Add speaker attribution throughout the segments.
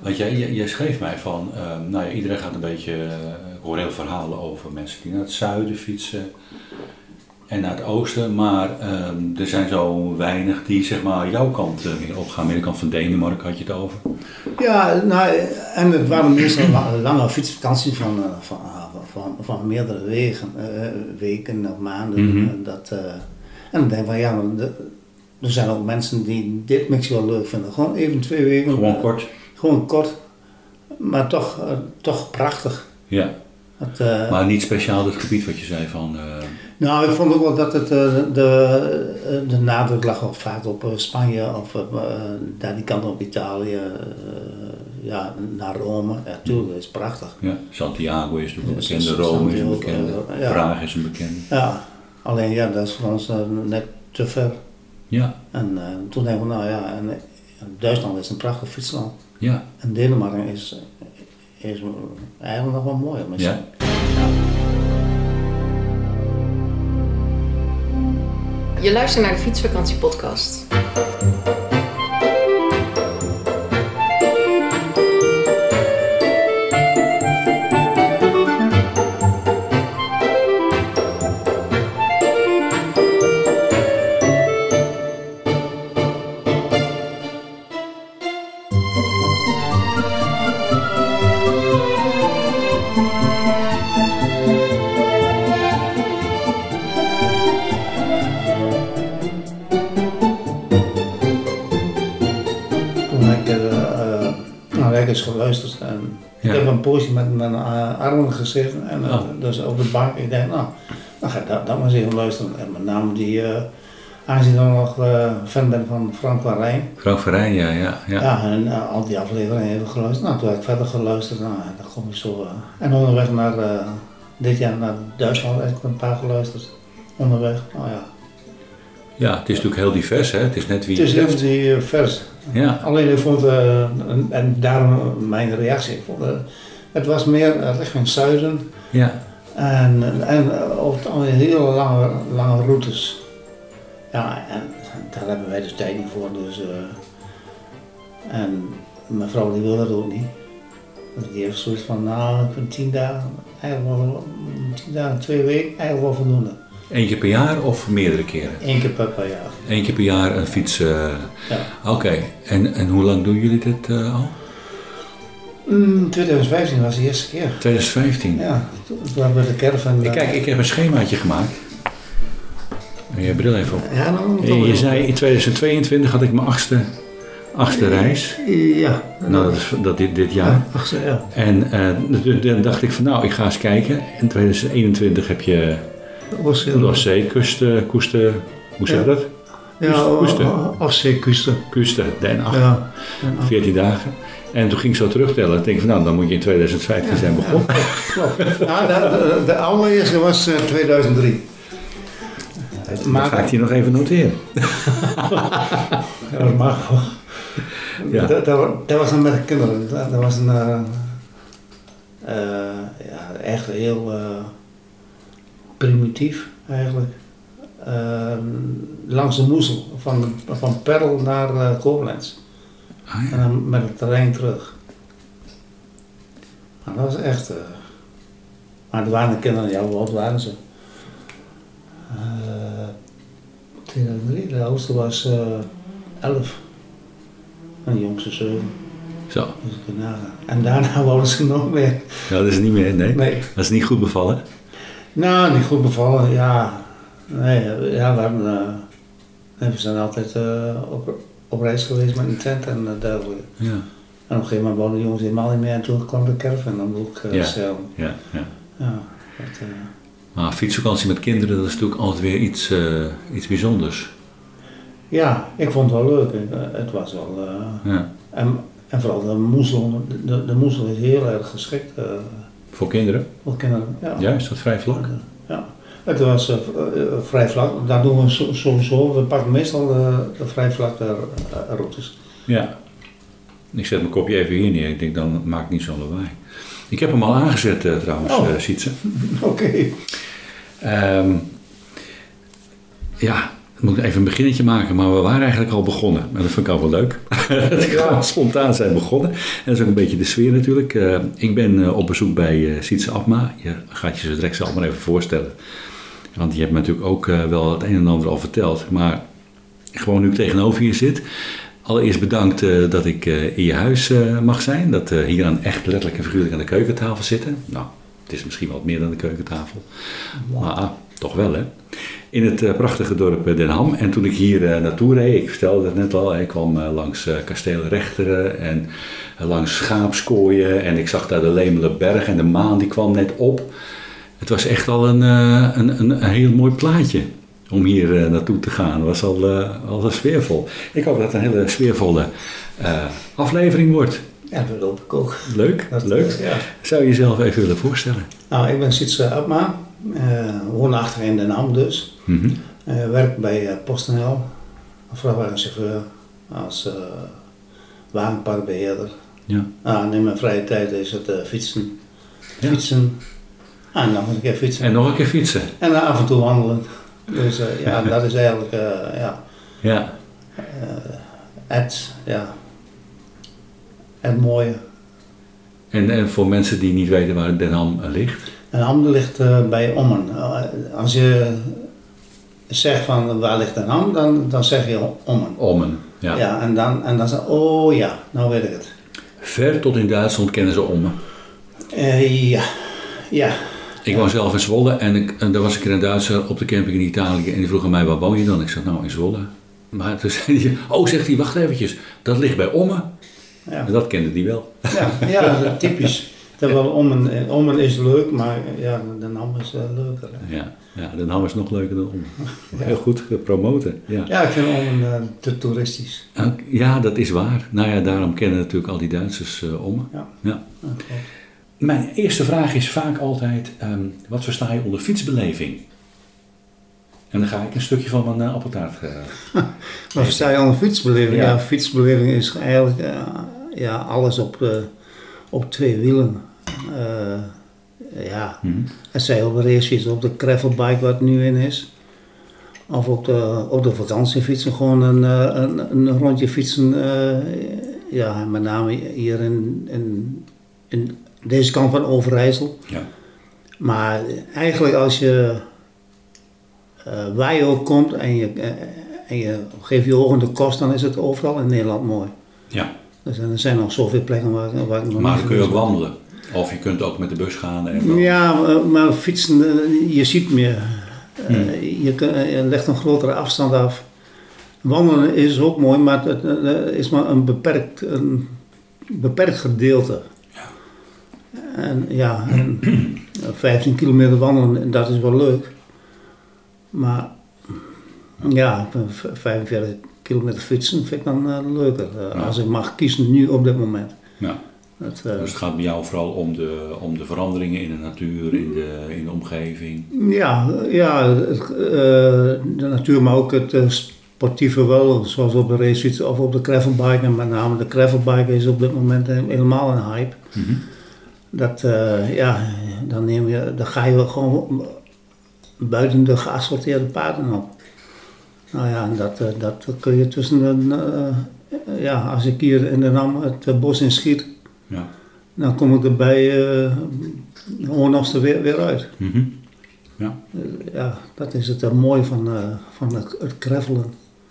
Speaker 1: Want jij, jij, jij schreef mij van, eh, nou ja, iedereen gaat een beetje, eh, ik hoor heel verhalen over mensen die naar het zuiden fietsen en naar het oosten, maar ehm, er zijn zo weinig die zeg maar jouw kant eh, weer opgaan, meer de kant van Denemarken had je het over.
Speaker 2: Ja, nou, en het waren meestal la- lange fietsvakanties van, eh, van, van, van meerdere wegen, eh, weken of maanden.
Speaker 1: Mhm.
Speaker 2: Eh, dat, eh, en dan denk ik van ja, maar de- er zijn ook mensen die dit mix wel leuk vinden. Gewoon even twee weken.
Speaker 1: Gewoon
Speaker 2: eh,
Speaker 1: kort.
Speaker 2: Gewoon kort, maar toch, eh, toch prachtig.
Speaker 1: Ja,
Speaker 2: Het, eh,
Speaker 1: maar niet speciaal dat gebied wat je zei van, eh,
Speaker 2: nou, ik vond ook wel dat het, eh, de, eh, de nadruk lag ook vaak op eh, Spanje of eh, eh, daar die kant op Italië, eh, ja, naar Rome. Ja, tuurlijk, dat is prachtig.
Speaker 1: ja, Santiago is natuurlijk een
Speaker 2: Ja,
Speaker 1: bekende,
Speaker 2: Santiago,
Speaker 1: Rome is een bekende,
Speaker 2: eh, ja.
Speaker 1: Praag is een bekende.
Speaker 2: Ja, alleen ja, dat is voor ons eh, net te ver.
Speaker 1: Ja,
Speaker 2: En eh, toen dachten we, nou ja, en, eh, Duitsland is een prachtig fietsland.
Speaker 1: ja.
Speaker 2: En Denemarken is, eh, is eigenlijk nog wel mooier misschien.
Speaker 1: Ja.
Speaker 3: Je luistert naar de Fietsvakantie Podcast.
Speaker 2: Toen heb ik eh, eh, naar records geluisterd en
Speaker 1: Ja.
Speaker 2: ik heb een poosje met mijn eh, armen gezeten en eh,
Speaker 1: Oh.
Speaker 2: dus op de bank. Ik denk, nou, dan ga ik dat, dat maar eens even luisteren. En met name die, eh aangezien ik dan nog eh, fan ben van Frank van Rijn,
Speaker 1: Frank Verijn, ja, ja, ja.
Speaker 2: Ja, en eh, al die afleveringen even geluisterd. Nou, toen heb ik verder geluisterd. Nou, en dan kom ik zo. eh, en onderweg naar eh, dit jaar naar Duitsland heb ik een paar geluisterd. Onderweg. Nou ja.
Speaker 1: Ja, het is natuurlijk heel divers, hè? Het is net wie
Speaker 2: Het
Speaker 1: je
Speaker 2: is
Speaker 1: treft.
Speaker 2: even die eh, vers.
Speaker 1: Ja,
Speaker 2: Alleen ik vond, eh, en, en daarom mijn reactie. Ik vond, eh, het was meer eh, richting zuiden.
Speaker 1: ja,
Speaker 2: En, en eh, over het algemeen hele lange, lange routes. Ja, en daar hebben wij dus tijd niet voor. Dus, eh, en mijn vrouw die wil dat ook niet. Dus die heeft zoiets van, nou, ik vind tien dagen, eigenlijk wel, mm, tien dagen, twee weken, eigenlijk wel voldoende.
Speaker 1: eentje per jaar of meerdere keren?
Speaker 2: Eén keer per, per jaar.
Speaker 1: Eén keer per jaar een fiets. eh,
Speaker 2: Ja.
Speaker 1: Oké, en, en hoe lang doen jullie dit eh, al?
Speaker 2: Mm, 2015 was de eerste keer.
Speaker 1: 2015.
Speaker 2: Ja, toen, toen hebben we de caravan...
Speaker 1: Ik,
Speaker 2: eh,
Speaker 1: kijk, ik heb een schemaatje gemaakt. En je bril even op.
Speaker 2: eh, Ja, dan...
Speaker 1: Eh, Je, je zei in 2022 had ik mijn achtste, achtste reis.
Speaker 2: Ja.
Speaker 1: Nou, dat is dat dit, dit jaar.
Speaker 2: ja. Ach, zo, ja.
Speaker 1: En eh, toen- toen dacht ik van nou, ik ga eens kijken. In 2021 heb je
Speaker 2: Was,
Speaker 1: de Oostzee-kust, eh, koesten, hoe zeg
Speaker 2: Ja.
Speaker 1: je dat?
Speaker 2: Ja,
Speaker 1: Kusten.
Speaker 2: Afzee Kusten.
Speaker 1: Kusten, Den 8.
Speaker 2: Ja.
Speaker 1: 14 dagen. En toen ging ik zo terugtellen. Toen denk ik van nou, dan moet je in 2015 zijn begonnen.
Speaker 2: Klopt. Ja, de, Ah, de, de allereerste was eh, 2003.
Speaker 1: Maar ga ik die nog even noteren.
Speaker 2: Ja, dat mag wel.
Speaker 1: Ja.
Speaker 2: Dat, dat, wa- dat was dan met de kinderen. Dat, dat was een... eh, eh, ja, echt heel eh, primitief eigenlijk. Ehm, langs de moezel. Van, van Perl naar eh, Koblenz.
Speaker 1: Ah,
Speaker 2: En dan met het terrein terug. Maar dat was echt. eh, maar er waren de kinderen, ja, hoe oud waren ze? Eh, 2003, de oudste was eh 11. En de jongste 7.
Speaker 1: Zo,
Speaker 2: Dus ik kan nagaan. En daarna wouden ze nog meer.
Speaker 1: Ja, dat is niet meer, nee.
Speaker 2: Nee.
Speaker 1: Dat is niet goed bevallen.
Speaker 2: Nou, niet goed bevallen, ja. Nee, ja, we hebben. eh, nee, we zijn altijd eh, op, op reis geweest met een tent en eh, dergelijke.
Speaker 1: Ja,
Speaker 2: En op een gegeven moment woonden de jongens helemaal niet meer en toen kwam de caravan dan ook eh
Speaker 1: Ja.
Speaker 2: zeilen.
Speaker 1: ja, ja.
Speaker 2: Ja, dat, eh,
Speaker 1: Maar fietsvakantie met kinderen, dat is natuurlijk altijd weer iets, eh, iets bijzonders.
Speaker 2: ja, ik vond het wel leuk. Ik, eh, het was wel... eh,
Speaker 1: Ja.
Speaker 2: en, en vooral de moezel, de, de moezel is heel erg geschikt eh,
Speaker 1: Voor kinderen?
Speaker 2: voor kinderen. Ja.
Speaker 1: Ja, is dat vrij vlak?
Speaker 2: Ja. Het was eh, v- eh, vrij vlak, dat doen we so- sowieso. We pakken meestal de, de vrij vlakke eh, routes.
Speaker 1: Ja. Ik zet mijn kopje even hier neer. Ik denk, dan het maakt niet zo'n lawaai. Ik heb hem al aangezet eh, trouwens,
Speaker 2: Oh.
Speaker 1: eh, Sietse.
Speaker 2: Oké.
Speaker 1: Ehm, ja, Dan moet ik even een beginnetje maken, maar we waren eigenlijk al begonnen. En dat vind ik al wel leuk. dat we gewoon spontaan zijn begonnen. En dat is ook een beetje de sfeer natuurlijk. Eh, ik ben eh, op bezoek bij eh, Sietse Abma. Je gaat je zo direct zelf maar even voorstellen. Want je hebt me natuurlijk ook eh, wel het een en ander al verteld. Maar gewoon nu ik tegenover je zit. Allereerst bedankt eh, dat ik eh, in je huis eh, mag zijn. Dat eh, hier aan echt letterlijk en figuurlijk aan de keukentafel zitten. Nou, het is misschien wat meer dan de keukentafel. Maar ah, toch wel hè. In het eh, prachtige dorp eh, Den Ham. En toen ik hier eh, naartoe reed, ik vertelde het net al, ik kwam eh, langs eh, kasteel Rechteren en eh, langs schaapskooien. En ik zag daar de Lemelenberg en de maan die kwam net op. Het was echt al een, eh, een, een, een heel mooi plaatje om hier eh, naartoe te gaan. Het was al, eh, al sfeervol. Ik hoop dat het een hele sfeervolle eh, aflevering wordt.
Speaker 2: Ja, dat hoop ik ook.
Speaker 1: Leuk,
Speaker 2: Dat- eh,
Speaker 1: leuk.
Speaker 2: Ja.
Speaker 1: Zou je jezelf even willen voorstellen?
Speaker 2: Nou, ik ben Sietse Abma, eh, woonachtig in Den Ham dus.
Speaker 1: Mhm.
Speaker 2: Eh, werk bij eh, PostNL, een vrachtwagenchauffeur, als eh wagenparkbeheerder.
Speaker 1: Ja.
Speaker 2: Ah, in mijn vrije tijd is het eh, fietsen.
Speaker 1: Ja.
Speaker 2: Fietsen. Ah, en dan moet ik even fietsen.
Speaker 1: En nog een keer fietsen.
Speaker 2: En dan af en toe wandelen. Dus eh, ja, dat is eigenlijk eh, ja,
Speaker 1: Ja,
Speaker 2: eh, het, ja, het mooie.
Speaker 1: en, en voor mensen die niet weten waar Den Ham eh, ligt.
Speaker 2: En Hamden ligt eh, bij Ommen. Eh, als je zegt van waar ligt een Ham, dan, dan zeg je Ommen.
Speaker 1: Ommen.
Speaker 2: Ja,
Speaker 1: Ja.
Speaker 2: en, dan, en dan zeg je, oh ja, nou weet ik het.
Speaker 1: Ver tot in Duitsland kennen ze Ommen.
Speaker 2: Eh, ja, ja.
Speaker 1: Ik woon zelf in Zwolle en, ik, en daar was ik een Duitser op de camping in Italië. En die vroeg aan mij, waar woon je dan? Ik zeg, nou in Zwolle. Maar toen zei hij, oh zegt hij, wacht eventjes. Dat ligt bij Ommen.
Speaker 2: Ja,
Speaker 1: En dat kende hij wel.
Speaker 2: ja, ja typisch. Terwijl Ommen, eh, Ommen is leuk, maar eh, ja, de Ham is eh, leuker. hè.
Speaker 1: Ja, ja Den Ham is nog leuker dan Ommen. Heel goed gepromoten. Ja.
Speaker 2: Ja, ik vind Ommen eh, te toeristisch.
Speaker 1: Ook- ja, dat is waar. Nou ja, daarom kennen natuurlijk al die Duitsers eh, Ommen.
Speaker 2: Ja.
Speaker 1: Ja.
Speaker 2: Ja, klopt.
Speaker 1: Mijn eerste vraag is vaak altijd: ehm, wat versta je onder fietsbeleving? En dan ga ik een stukje van mijn eh, appeltaart. eh,
Speaker 2: Maar versta je al een fietsbeleving?
Speaker 1: Ja.
Speaker 2: Ja, fietsbeleving is eigenlijk eh, ja, alles op, eh, op twee wielen. Eh, ja,
Speaker 1: mhm.
Speaker 2: het zij op de racefiets, op de gravelbike wat nu in is. Of op de, op de vakantiefietsen, gewoon een, eh, een, een rondje fietsen. eh, ja, met name hier in, in, in deze kant van Overijssel.
Speaker 1: Ja.
Speaker 2: Maar eigenlijk als je eh, waar je ook komt en je, eh, en je geeft je ogen de kost, dan is het overal in Nederland mooi.
Speaker 1: ja,
Speaker 2: Dus, en er zijn nog zoveel plekken waar, waar ik nog
Speaker 1: maar
Speaker 2: niet
Speaker 1: dan kun je ook
Speaker 2: geweest
Speaker 1: wandelen. Of je kunt ook met de bus gaan. En
Speaker 2: ben.
Speaker 1: dan-
Speaker 2: Ja, maar, maar fietsen, eh, je ziet meer. Eh,
Speaker 1: Hmm.
Speaker 2: je, kun- je legt een grotere afstand af. Wandelen is ook mooi, maar het eh, is maar een beperkt, een beperkt gedeelte.
Speaker 1: Ja.
Speaker 2: En ja, en 15 kilometer wandelen, dat is wel leuk. Maar ja, 45 kilometer fietsen vind ik dan eh, leuker. eh,
Speaker 1: Ja.
Speaker 2: Als ik mag kiezen nu op dit moment.
Speaker 1: Ja.
Speaker 2: Dat, eh,
Speaker 1: Dus het gaat bij jou vooral om de, om de veranderingen in de natuur, in de, in de omgeving.
Speaker 2: ja, ja het, eh, de natuur, maar ook het eh, sportieve wel. Zoals op de racefiets of op de gravelbike. En met name de gravelbike is op dit moment eh, helemaal een hype.
Speaker 1: Mhm.
Speaker 2: Dat, eh, ja, dan, neem je, dan ga je wel gewoon buiten de geasfalteerde paden op. Nou ja, en dat, eh, dat kun je tussen de, eh, ja, als ik hier in de Nam het eh, bos in schiet,
Speaker 1: Ja.
Speaker 2: dan kom ik er bij eh Hoornhorst er weer, weer uit.
Speaker 1: Mhm.
Speaker 2: Ja, dat is het eh, mooie van, eh, van het, het gravelen.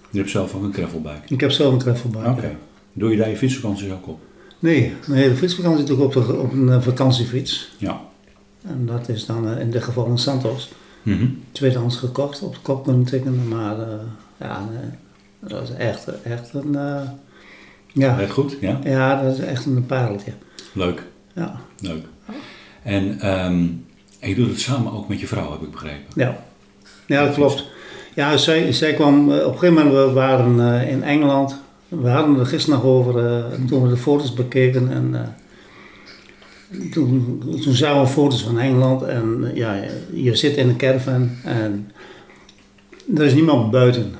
Speaker 1: Je hebt zelf ook een gravelbike.
Speaker 2: Ik heb zelf een gravelbike.
Speaker 1: Oké. Doe je daar je fietsvakanties ook op?
Speaker 2: Nee, mijn hele fietsvakantie is natuurlijk op, de, op een eh, vakantiefiets.
Speaker 1: Ja.
Speaker 2: En dat is dan eh, in dit geval een Santos.
Speaker 1: Mhm.
Speaker 2: tweedehands gekocht, op de kop kunnen tikken, maar eh, ja, eh, dat is echt, echt een, eh, ja,
Speaker 1: Heel goed, ja.
Speaker 2: ja, dat is echt een pareltje.
Speaker 1: Leuk.
Speaker 2: Ja,
Speaker 1: Leuk. En, ehm, en je doet het samen ook met je vrouw, heb ik begrepen.
Speaker 2: ja. ja dat klopt. Ja, zij, zij kwam, eh, op een gegeven moment, we waren eh, in Engeland, we hadden er gisteren nog over, eh, toen we de foto's bekeken en eh, toen, toen zagen we foto's van Engeland en eh, ja, je zit in een caravan en er is niemand buiten.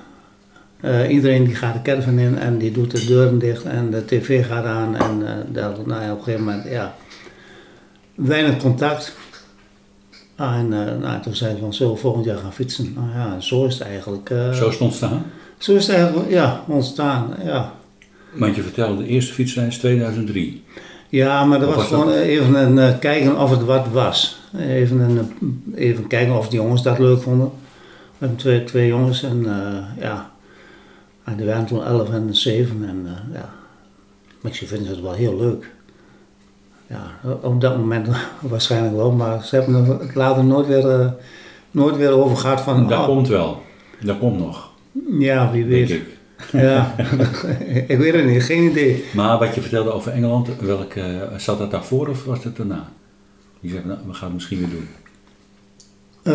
Speaker 2: Eh, iedereen die gaat de caravan in en die doet de deuren dicht en de tv gaat aan en eh, daar, nou ja, op een gegeven moment, ja, weinig contact. Ah, en eh, nou, toen zei ze van, zullen we volgend jaar gaan fietsen? Nou ja, zo is het eigenlijk. eh,
Speaker 1: Zo is het ontstaan.
Speaker 2: zo is het eigenlijk, ja, ontstaan, ja.
Speaker 1: Want je vertelde, de eerste fietsreis 2003.
Speaker 2: Ja, maar dat
Speaker 1: Of
Speaker 2: was,
Speaker 1: was
Speaker 2: gewoon even een eh, kijken of het wat was. Even, een, eh, even kijken of die jongens dat leuk vonden. We hebben twee, twee jongens en eh, ja. En die waren toen 11 en 7 en eh, ja. Maar ze vinden het wel heel leuk. Ja, op dat moment waarschijnlijk wel, maar ze hebben er later nooit weer, eh, nooit weer over gehad van.
Speaker 1: Dat
Speaker 2: oh,
Speaker 1: komt wel. Dat komt nog,
Speaker 2: ja, wie
Speaker 1: denk
Speaker 2: weet.
Speaker 1: ik.
Speaker 2: Ja, ik weet het niet, geen idee.
Speaker 1: Maar wat je vertelde over Engeland, welke, zat dat daarvoor of was dat daarna? Je zegt, nou, we gaan het misschien weer doen.
Speaker 2: Eh,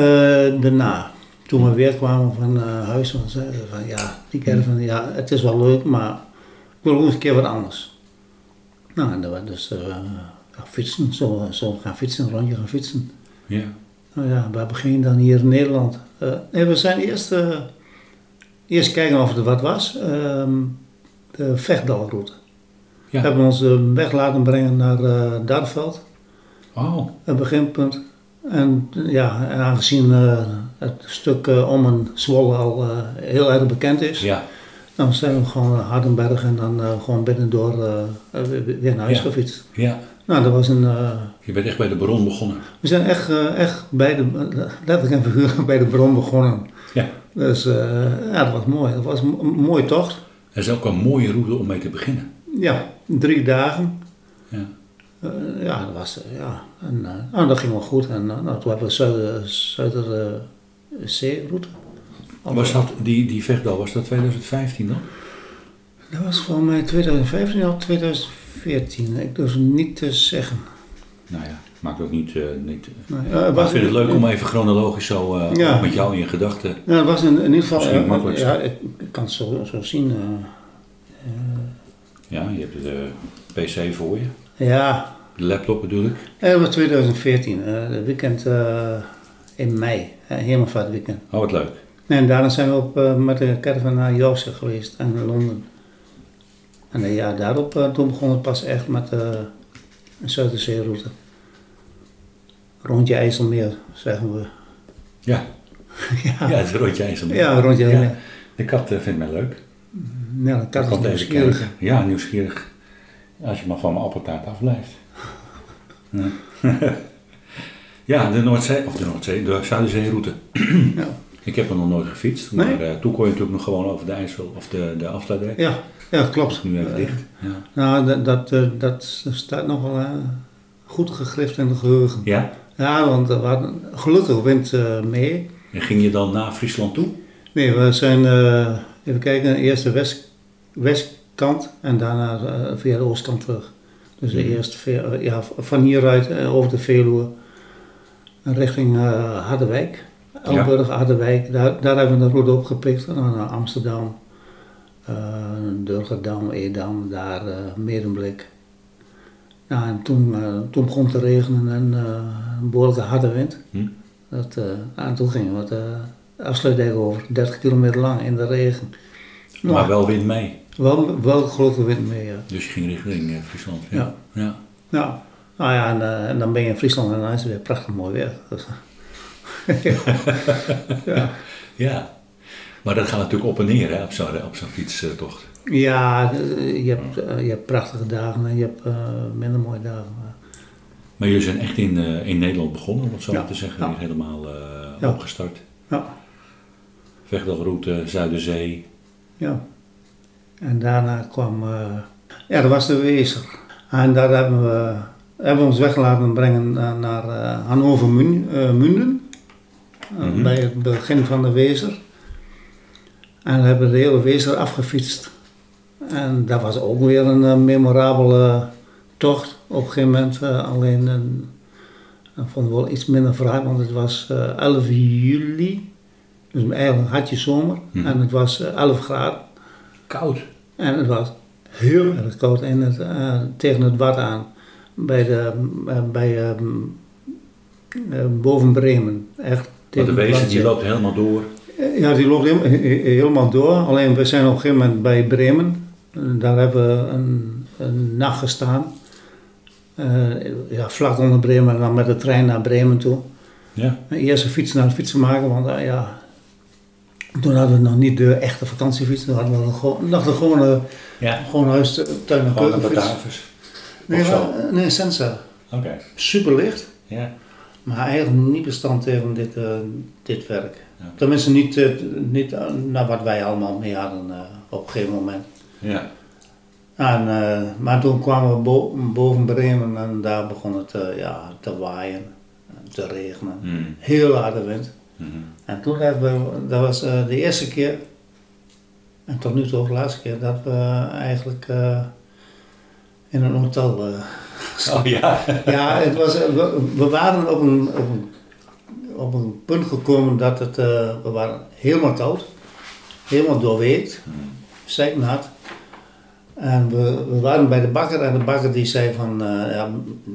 Speaker 2: daarna, toen we weer kwamen van eh, huis, dan zeiden ze van ja, die caravan, ja, het is wel leuk, maar ik wil ook eens een keer wat anders. Nou, en dan was dus eh, gaan fietsen, zo, zo gaan fietsen, een rondje gaan fietsen.
Speaker 1: Ja.
Speaker 2: Nou ja, waar begin je dan hier in Nederland? Eh, nee, we zijn eerst, eh, eerst kijken of er wat was. Ehm, de Vechtdalroute.
Speaker 1: Ja.
Speaker 2: We hebben ons eh, weg laten brengen naar eh Darveld
Speaker 1: Oh,
Speaker 2: een beginpunt. En ja, en aangezien eh, het stuk eh, om een Zwolle al eh, heel erg bekend is,
Speaker 1: ja.
Speaker 2: dan zijn we gewoon naar Hardenberg en dan eh, gewoon binnendoor eh, eh, weer naar huis
Speaker 1: Ja.
Speaker 2: gefietst.
Speaker 1: Ja.
Speaker 2: Nou, dat was een. eh,
Speaker 1: Je bent echt bij de bron begonnen.
Speaker 2: we zijn echt, eh, echt bij de, letterlijk en figuurlijk bij de bron begonnen.
Speaker 1: Ja.
Speaker 2: Dus eh, ja, dat was mooi. Dat was een een mooie tocht.
Speaker 1: Dat is ook een mooie route om mee te beginnen.
Speaker 2: Ja, drie dagen.
Speaker 1: Ja.
Speaker 2: Eh, ja, dat was, eh, ja. En, eh, nou, dat ging wel goed. En eh, nou, toen hebben we Zuider, eh, Zuiderzeeroute.
Speaker 1: Was dat, die, die vechtdal, was dat 2015 dan?
Speaker 2: Dat was voor mij 2015 of 2014. Ik durf het niet te zeggen.
Speaker 1: Nou ja, maakt ook niet... eh, niet
Speaker 2: Nee, eh, het
Speaker 1: maar
Speaker 2: was,
Speaker 1: ik vind het leuk om even chronologisch zo eh,
Speaker 2: Ja.
Speaker 1: ook met jou in je gedachten...
Speaker 2: Ja, het was in, in ieder geval...
Speaker 1: Misschien
Speaker 2: eh,
Speaker 1: het makkelijkste.
Speaker 2: ja, ik, ik kan het zo, zo zien. eh.
Speaker 1: Ja, je hebt de pc voor je.
Speaker 2: ja,
Speaker 1: De laptop bedoel ik.
Speaker 2: Eh, dat was 2014. eh, Het weekend eh, in mei. Uh, Hemelvaart weekend.
Speaker 1: Oh, wat leuk.
Speaker 2: En daarna zijn we op, eh, met de caravan naar Yorkshire geweest en naar Londen. En eh, ja, daarop eh, toen begon het pas echt met eh een Zuiderzeeroute. Rondje IJsselmeer, zeggen we.
Speaker 1: Ja,
Speaker 2: ja,
Speaker 1: ja
Speaker 2: Ah. ja.
Speaker 1: het is een rondje IJsselmeer.
Speaker 2: rondje
Speaker 1: Ja.
Speaker 2: IJsselmeer.
Speaker 1: De kat eh, vindt mij leuk.
Speaker 2: Ja, dat
Speaker 1: Ik
Speaker 2: kat is
Speaker 1: kom even
Speaker 2: nieuwsgierig.
Speaker 1: kijken. Ja, nieuwsgierig. Als je maar van mijn appeltaart afblijft. Ja. ja, de Noordzee, of de Noordzee, de Zuiderzeeroute.
Speaker 2: Ja.
Speaker 1: Ik heb er nog nooit gefietst, maar
Speaker 2: Nee?
Speaker 1: eh, toen kon je natuurlijk nog gewoon over de IJssel of de, de afsluitdijk.
Speaker 2: Ja, ja,
Speaker 1: Dat is
Speaker 2: klopt.
Speaker 1: nu even
Speaker 2: Eh,
Speaker 1: dicht. Ja.
Speaker 2: Nou, dat, dat, eh, dat staat nogal eh, goed gegrift in de geheugen.
Speaker 1: ja,
Speaker 2: Ja, want eh, we hadden, gelukkig wint eh, mee.
Speaker 1: en ging je dan naar Friesland toe?
Speaker 2: Nee, we zijn, eh, even kijken, eerst de west, westkant en daarna eh, via de oostkant terug. Dus
Speaker 1: Mhm.
Speaker 2: eerst via- eh, ja, van hieruit eh, over de Veluwe richting eh, Harderwijk. Elburg, Harderwijk, daar, daar hebben we de route opgepikt. En dan naar Amsterdam, eh Durgerdam, Edam, daar eh Medemblik. Nou, en toen, eh, toen begon het te regenen en eh, een behoorlijke harde wind.
Speaker 1: Hm.
Speaker 2: Dat, eh, en toen gingen we het eh, afsluitdijk over, 30 kilometer lang in de regen. Nou,
Speaker 1: Maar wel wind mee.
Speaker 2: wel, wel gelukkig wind mee. Ja.
Speaker 1: Dus je ging richting eh, Friesland. Ja.
Speaker 2: Ja.
Speaker 1: Ja.
Speaker 2: Nou, nou ja, en, eh, en dan ben je in Friesland en dan is het weer prachtig mooi weer. Dus, ja.
Speaker 1: Ja. Maar dat gaat natuurlijk op en neer hè, op zo'n op zo'n fietstocht.
Speaker 2: ja, eh, je hebt, eh, je hebt prachtige dagen en je hebt eh, minder mooie dagen. maar-
Speaker 1: Maar jullie zijn echt in, eh, in Nederland begonnen, om het zo
Speaker 2: Ja.
Speaker 1: maar te zeggen.
Speaker 2: Ja.
Speaker 1: Niet helemaal eh,
Speaker 2: Ja.
Speaker 1: opgestart.
Speaker 2: Ja,
Speaker 1: Vechtdalroute, Zuiderzee.
Speaker 2: ja. En daarna kwam, eh, ja, dat was de Wezer. En daar hebben we, hebben we ons weg laten brengen eh, naar eh, Hannover Mun- eh, Munden. Eh,
Speaker 1: Mhm.
Speaker 2: Bij het begin van de Wezer. En we hebben de hele Wezer afgefietst. En dat was ook weer een eh, memorabele tocht. Op een gegeven moment eh, alleen, een, dat vonden we wel iets minder fraai, want het was eh, 11 juli. Dus eigenlijk had je zomer
Speaker 1: Mhm.
Speaker 2: en het was eh, 11 graden.
Speaker 1: Koud.
Speaker 2: En het was heel erg koud en het, eh, tegen het wat aan. Bij, de, eh, bij eh, eh, boven Bremen. Echt
Speaker 1: Want de
Speaker 2: tegen het
Speaker 1: wezen
Speaker 2: wad
Speaker 1: die
Speaker 2: aan.
Speaker 1: loopt helemaal door.
Speaker 2: Eh, Ja, die loopt helemaal, he- he- helemaal door. Alleen we zijn op een gegeven moment bij Bremen. En Daar hebben we een, een nacht gestaan. Eh, ja, vlak onder Bremen en dan met de trein naar Bremen toe.
Speaker 1: Ja.
Speaker 2: Mijn eerste fiets naar een fiets maken, want eh, ja, toen hadden we nog niet de echte vakantiefiets. Toen hadden we nog gewoon, eh, nog de gewone,
Speaker 1: ja.
Speaker 2: gewoon huis, tuin en
Speaker 1: Gewoon een
Speaker 2: keukenfiets.
Speaker 1: Batavus.
Speaker 2: Nee,
Speaker 1: of
Speaker 2: maar-
Speaker 1: zo.
Speaker 2: eh, nee, een Sensa.
Speaker 1: Oké.
Speaker 2: Super licht,
Speaker 1: Ja.
Speaker 2: maar eigenlijk niet bestand tegen dit, eh, dit werk.
Speaker 1: Ja.
Speaker 2: Tenminste niet, eh, niet eh, naar wat wij allemaal mee hadden eh, op een gegeven moment.
Speaker 1: Ja.
Speaker 2: En, eh, maar toen kwamen we bo- boven Bremen en daar begon het eh, ja, te waaien, eh, te regenen.
Speaker 1: Mm.
Speaker 2: Heel harde wind.
Speaker 1: Mhm.
Speaker 2: En toen hebben we, dat was eh, de eerste keer, en tot nu toe ook de laatste keer, dat we eigenlijk eh, in een hotel eh,
Speaker 1: Oh ja.
Speaker 2: ja, het was, eh, we, we waren op een, op, een, op een punt gekomen dat het, eh, we waren helemaal koud, helemaal doorweekt, zeiknat. En we, we waren bij de bakker en de bakker die zei van, eh, ja,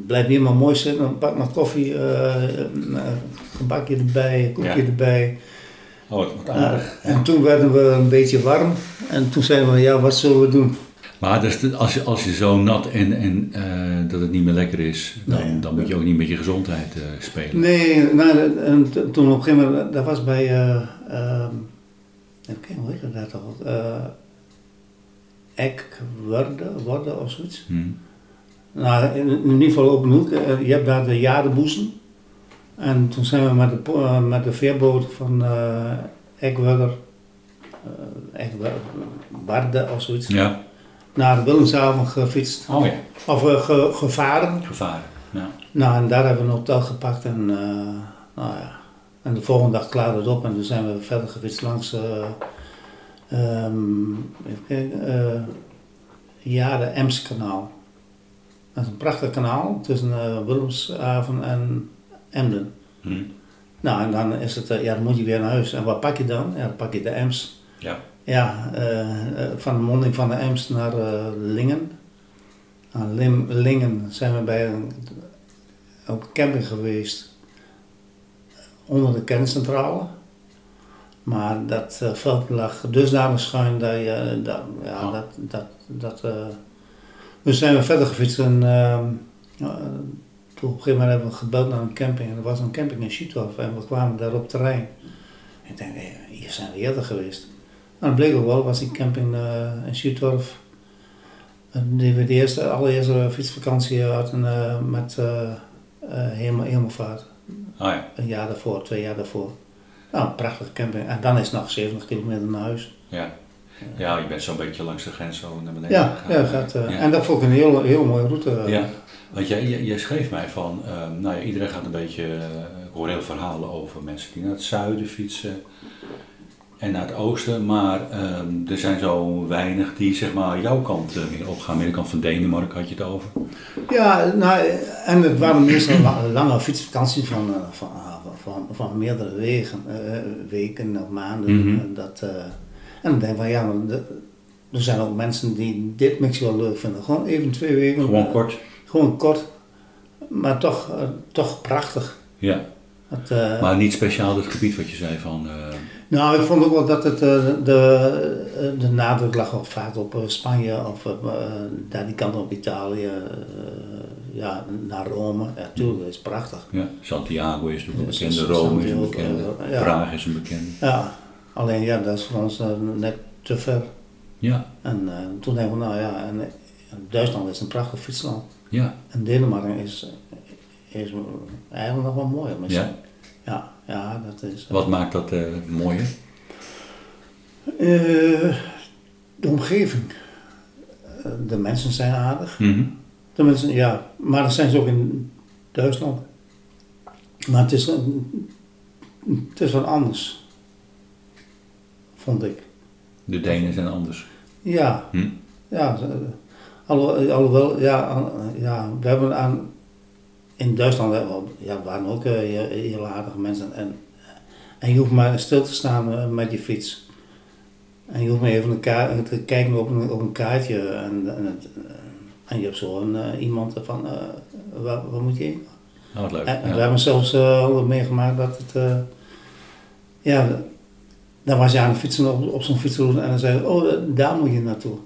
Speaker 2: blijf hier maar mooi zitten, pak maar koffie, eh, een eh, gebakje erbij, een koekje
Speaker 1: Ja.
Speaker 2: erbij.
Speaker 1: Oh, het wordt aardig.
Speaker 2: En toen werden we een beetje warm en toen zeiden we, ja, wat zullen we doen?
Speaker 1: Maar dus als, je, als je zo nat en, en eh, dat het niet meer lekker is, dan,
Speaker 2: Nee.
Speaker 1: dan moet je ook niet met je gezondheid eh, spelen.
Speaker 2: Nee, nou, en t- toen op een gegeven moment, dat was bij, eh ehm, even kijken, hoe heet dat daar toch? Eh Ekwerde Worde of zoiets.
Speaker 1: Hm.
Speaker 2: Nou, in, in ieder geval op een hoek, eh, je hebt daar de jarenboezem. En toen zijn we met de, po- eh, met de veerboot van eh Ekwerder, eh Ekwarde of zoiets,
Speaker 1: Ja.
Speaker 2: naar Willemshaven gefietst.
Speaker 1: Oh ja.
Speaker 2: Of eh, ge- gevaren.
Speaker 1: Gevaar. Ja.
Speaker 2: Nou, en daar hebben we een hotel gepakt en, eh, nou ja. en de volgende dag klaarde het op en toen zijn we verder gefietst langs, eh ehm, even kijken, eh, ja, de Emskanaal. Dat is een prachtig kanaal tussen eh, Willemshaven en Emden.
Speaker 1: Hm.
Speaker 2: Nou, en dan is het, eh, ja, dan moet je weer naar huis. En wat pak je dan? Ja, dan pak je de Ems.
Speaker 1: Ja.
Speaker 2: Ja, eh, eh, van de monding van de Ems naar eh, Lingen. Aan Lim, Lingen zijn we bij een, op een camping geweest. Onder de kerncentrale. Maar dat eh, veld lag dusdanig schuin dat je, eh, dat, ja,
Speaker 1: Oh.
Speaker 2: dat, dat, dat eh, dus zijn we verder gefietst en ehm, ja, toen op een gegeven moment hebben we gebeld naar een camping. En er was een camping in Schiethof en we kwamen daar op terrein. Ik denk, hé, hier zijn we eerder geweest. Maar het bleek ook wel, was die camping eh, in Schiethof. Die we de eerste, allereerste fietsvakantie hadden eh, met eh eh, Hemel- Hemelvaart.
Speaker 1: Oh ja.
Speaker 2: Een jaar daarvoor, twee jaar daarvoor. Nou, een prachtige camping. En dan is het nog 70 kilometer naar huis.
Speaker 1: Ja. Ja, je bent zo'n beetje langs de grens zo naar beneden
Speaker 2: Ja,
Speaker 1: gegaan.
Speaker 2: ja, gaat, eh,
Speaker 1: Ja.
Speaker 2: en dat vond ik een heel, heel mooie route.
Speaker 1: Ja, want jij, jij, jij schreef mij van, ehm, nou ja, iedereen gaat een beetje, eh, ik hoor heel veel verhalen over mensen die naar het zuiden fietsen en naar het oosten, maar ehm, er zijn zo weinig die zeg maar jouw kant eh, meer opgaan, meer de kant van Denemarken had je het over.
Speaker 2: Ja, nou, en het waren meestal la- lange fietsvakanties van, eh, van, van, van meerdere wegen, eh, weken of maanden.
Speaker 1: Mhm.
Speaker 2: Eh, dat, eh, en dan denk ik van ja, maar de- er zijn ook mensen die dit mix wel leuk vinden. Gewoon even twee weken.
Speaker 1: Gewoon kort.
Speaker 2: Gewoon kort, maar toch, eh, toch prachtig.
Speaker 1: Ja,
Speaker 2: Het, eh,
Speaker 1: maar niet speciaal het gebied wat je zei van, eh,
Speaker 2: nou, ik vond ook wel dat het, eh, de, eh, de nadruk lag ook vaak op eh, Spanje of eh, eh, daar die kant op Italië, eh, ja, naar Rome. Ja, tuurlijk, dat is prachtig.
Speaker 1: ja, Santiago is natuurlijk een
Speaker 2: Ja,
Speaker 1: bekende,
Speaker 2: Santiago, eh,
Speaker 1: Rome is een bekende,
Speaker 2: ja.
Speaker 1: Praag is een bekende.
Speaker 2: Ja, alleen ja, dat is voor ons eh, net te ver.
Speaker 1: Ja,
Speaker 2: En eh, toen hebben we, nou ja, en, eh, Duitsland is een prachtig fietsland.
Speaker 1: ja,
Speaker 2: En Denemarken is, eh, is eigenlijk nog wel mooier misschien.
Speaker 1: ja.
Speaker 2: Ja, ja, dat is...
Speaker 1: Wat maakt dat eh mooier?
Speaker 2: Eh, de omgeving. Eh, De mensen zijn aardig.
Speaker 1: Mhm.
Speaker 2: De mensen, ja, maar dat zijn ze ook in Duitsland. Maar het is, een- het is wat anders. Vond ik.
Speaker 1: De Denen zijn anders.
Speaker 2: Ja.
Speaker 1: Hm.
Speaker 2: Ja, eh, alho- alhoewel, ja, al- ja, we hebben aan, in Duitsland hebben we al- ja, waren ook eh, heel, heel aardige mensen. En, eh, en je hoeft maar stil te staan eh, met je fiets. En je hoeft maar even een ka- te kijken op een, op een kaartje. En, en, het- eh, en je hebt zo'n eh, iemand van, eh, waar, waar moet je heen?
Speaker 1: Nou, wat leuk.
Speaker 2: En, en
Speaker 1: ja.
Speaker 2: we hebben zelfs eh, al meegemaakt dat het. eh, ja, dan was je aan het fietsen op, op zo'n fietsroute en dan zei je: Oh, eh, daar moet je naartoe.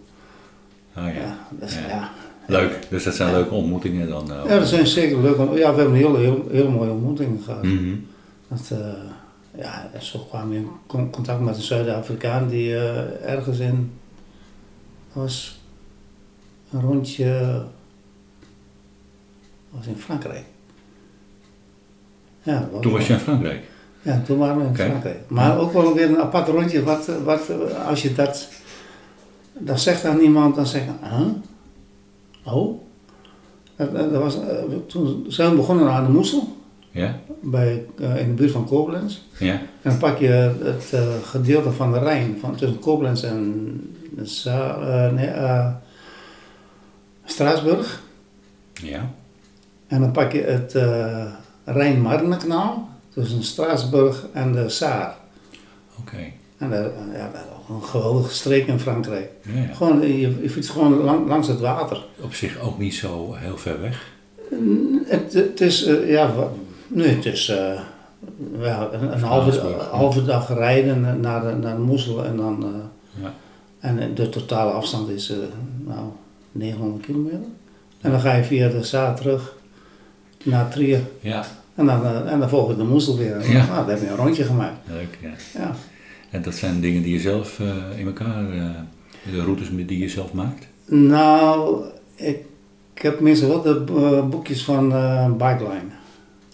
Speaker 1: Oh, ja.
Speaker 2: Ja, dat, is-
Speaker 1: Ja.
Speaker 2: ja.
Speaker 1: Leuk, dus dat zijn leuke ontmoetingen dan. eh,
Speaker 2: Ja, dat zijn zeker leuke. Ja, we hebben een hele, hele, hele mooie ontmoetingen gehad.
Speaker 1: Mhm.
Speaker 2: Dat, eh, ja, en zo kwam je in con- contact met een Zuid-Afrikaan die eh, ergens in dat was een rondje dat was in Frankrijk. Ja, dat
Speaker 1: Toen was je in Frankrijk.
Speaker 2: ja, toen waren we in
Speaker 1: Oké.
Speaker 2: Frankrijk. Maar ook wel weer een apart rondje. Wat, wat, als je dat, dat zegt aan iemand, dan zeggen huh? Oh? Dat, dat dat was, eh, toen zijn we begonnen aan de Moesel,
Speaker 1: Ja?
Speaker 2: bij, eh, in de buurt van Koblenz.
Speaker 1: Ja?
Speaker 2: En dan pak je het eh, gedeelte van de Rijn, van tussen Koblenz en Za- eh, nee, eh, Straatsburg.
Speaker 1: Ja?
Speaker 2: En dan pak je het eh Rijn-Marne-kanaal tussen Straatsburg en de Saar.
Speaker 1: Oké.
Speaker 2: En dat, en ja, dat is ook een geweldige streek in Frankrijk.
Speaker 1: Ja, ja.
Speaker 2: Gewoon, eh, je, je fietst gewoon lang- langs het water.
Speaker 1: Op zich ook niet zo heel ver weg.
Speaker 2: Het, het is, eh, ja, wa- nee, het is eh, ja, een, een halve,
Speaker 1: Straatsburg, ja.
Speaker 2: halve dag rijden naar de, naar de Moezel en dan... eh,
Speaker 1: Ja.
Speaker 2: En de totale afstand is eh, nou, 900 kilometer. En dan ga je via de Saar terug naar Trier.
Speaker 1: Ja.
Speaker 2: En dan, eh, en dan volg je de moesel weer.
Speaker 1: Ja.
Speaker 2: Nou, dan heb je een rondje gemaakt.
Speaker 1: Leuk, ja.
Speaker 2: Ja.
Speaker 1: En dat zijn dingen die je zelf eh, in elkaar, eh, de routes die je zelf maakt?
Speaker 2: Nou, ik, ik heb meestal wel de eh, boekjes van eh Bikeline.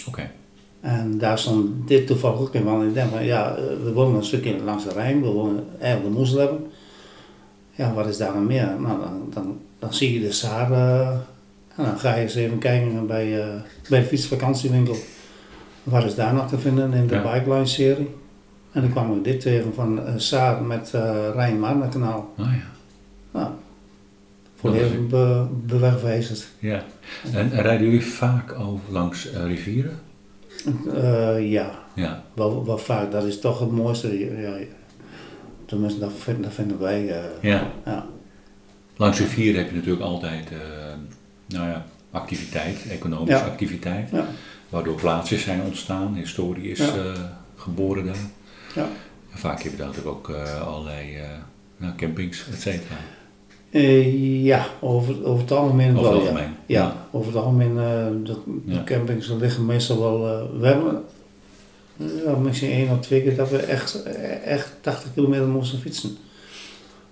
Speaker 1: Oké.
Speaker 2: En daar stond dit toevallig ook in. Want ik denk van, ja, eh, we wonen een stukje langs de Rijn. We wonen eigenlijk de moesel hebben. Ja, wat is daar dan meer? Nou, dan, dan, dan zie je de Saar. eh, en dan ga je eens even kijken bij, eh, bij de fietsvakantiewinkel. Wat is daar nog te vinden in de
Speaker 1: Ja.
Speaker 2: Bikeline-serie? En dan kwam ik dit tegen van eh, Saar met eh Rijn-Marne-kanaal.
Speaker 1: Ah ja.
Speaker 2: Nou,
Speaker 1: Dat
Speaker 2: volledig
Speaker 1: is-
Speaker 2: be bewegwijzerd.
Speaker 1: Ja. En, en rijden jullie vaak over langs eh, rivieren?
Speaker 2: Eh, ja,
Speaker 1: Ja.
Speaker 2: wel, wel vaak. Dat is toch het mooiste. Ja, ja. Tenminste, dat, vind- dat vinden wij. eh,
Speaker 1: Ja.
Speaker 2: ja.
Speaker 1: Langs rivieren heb je natuurlijk altijd eh, nou ja, activiteit, economische
Speaker 2: Ja.
Speaker 1: activiteit.
Speaker 2: Ja.
Speaker 1: Waardoor plaatsen zijn ontstaan, historie is
Speaker 2: Ja.
Speaker 1: eh, geboren daar.
Speaker 2: Ja.
Speaker 1: En vaak heb je daar natuurlijk ook eh, allerlei eh, nou, campings, et cetera.
Speaker 2: Eh, ja, over, over het algemeen
Speaker 1: Over
Speaker 2: wel.
Speaker 1: het
Speaker 2: ja.
Speaker 1: algemeen.
Speaker 2: Ja, over het algemeen. eh, de, de
Speaker 1: Ja.
Speaker 2: campings liggen meestal wel. eh, we hebben eh, ja, misschien één of twee keer dat we echt, echt 80 kilometer moesten fietsen.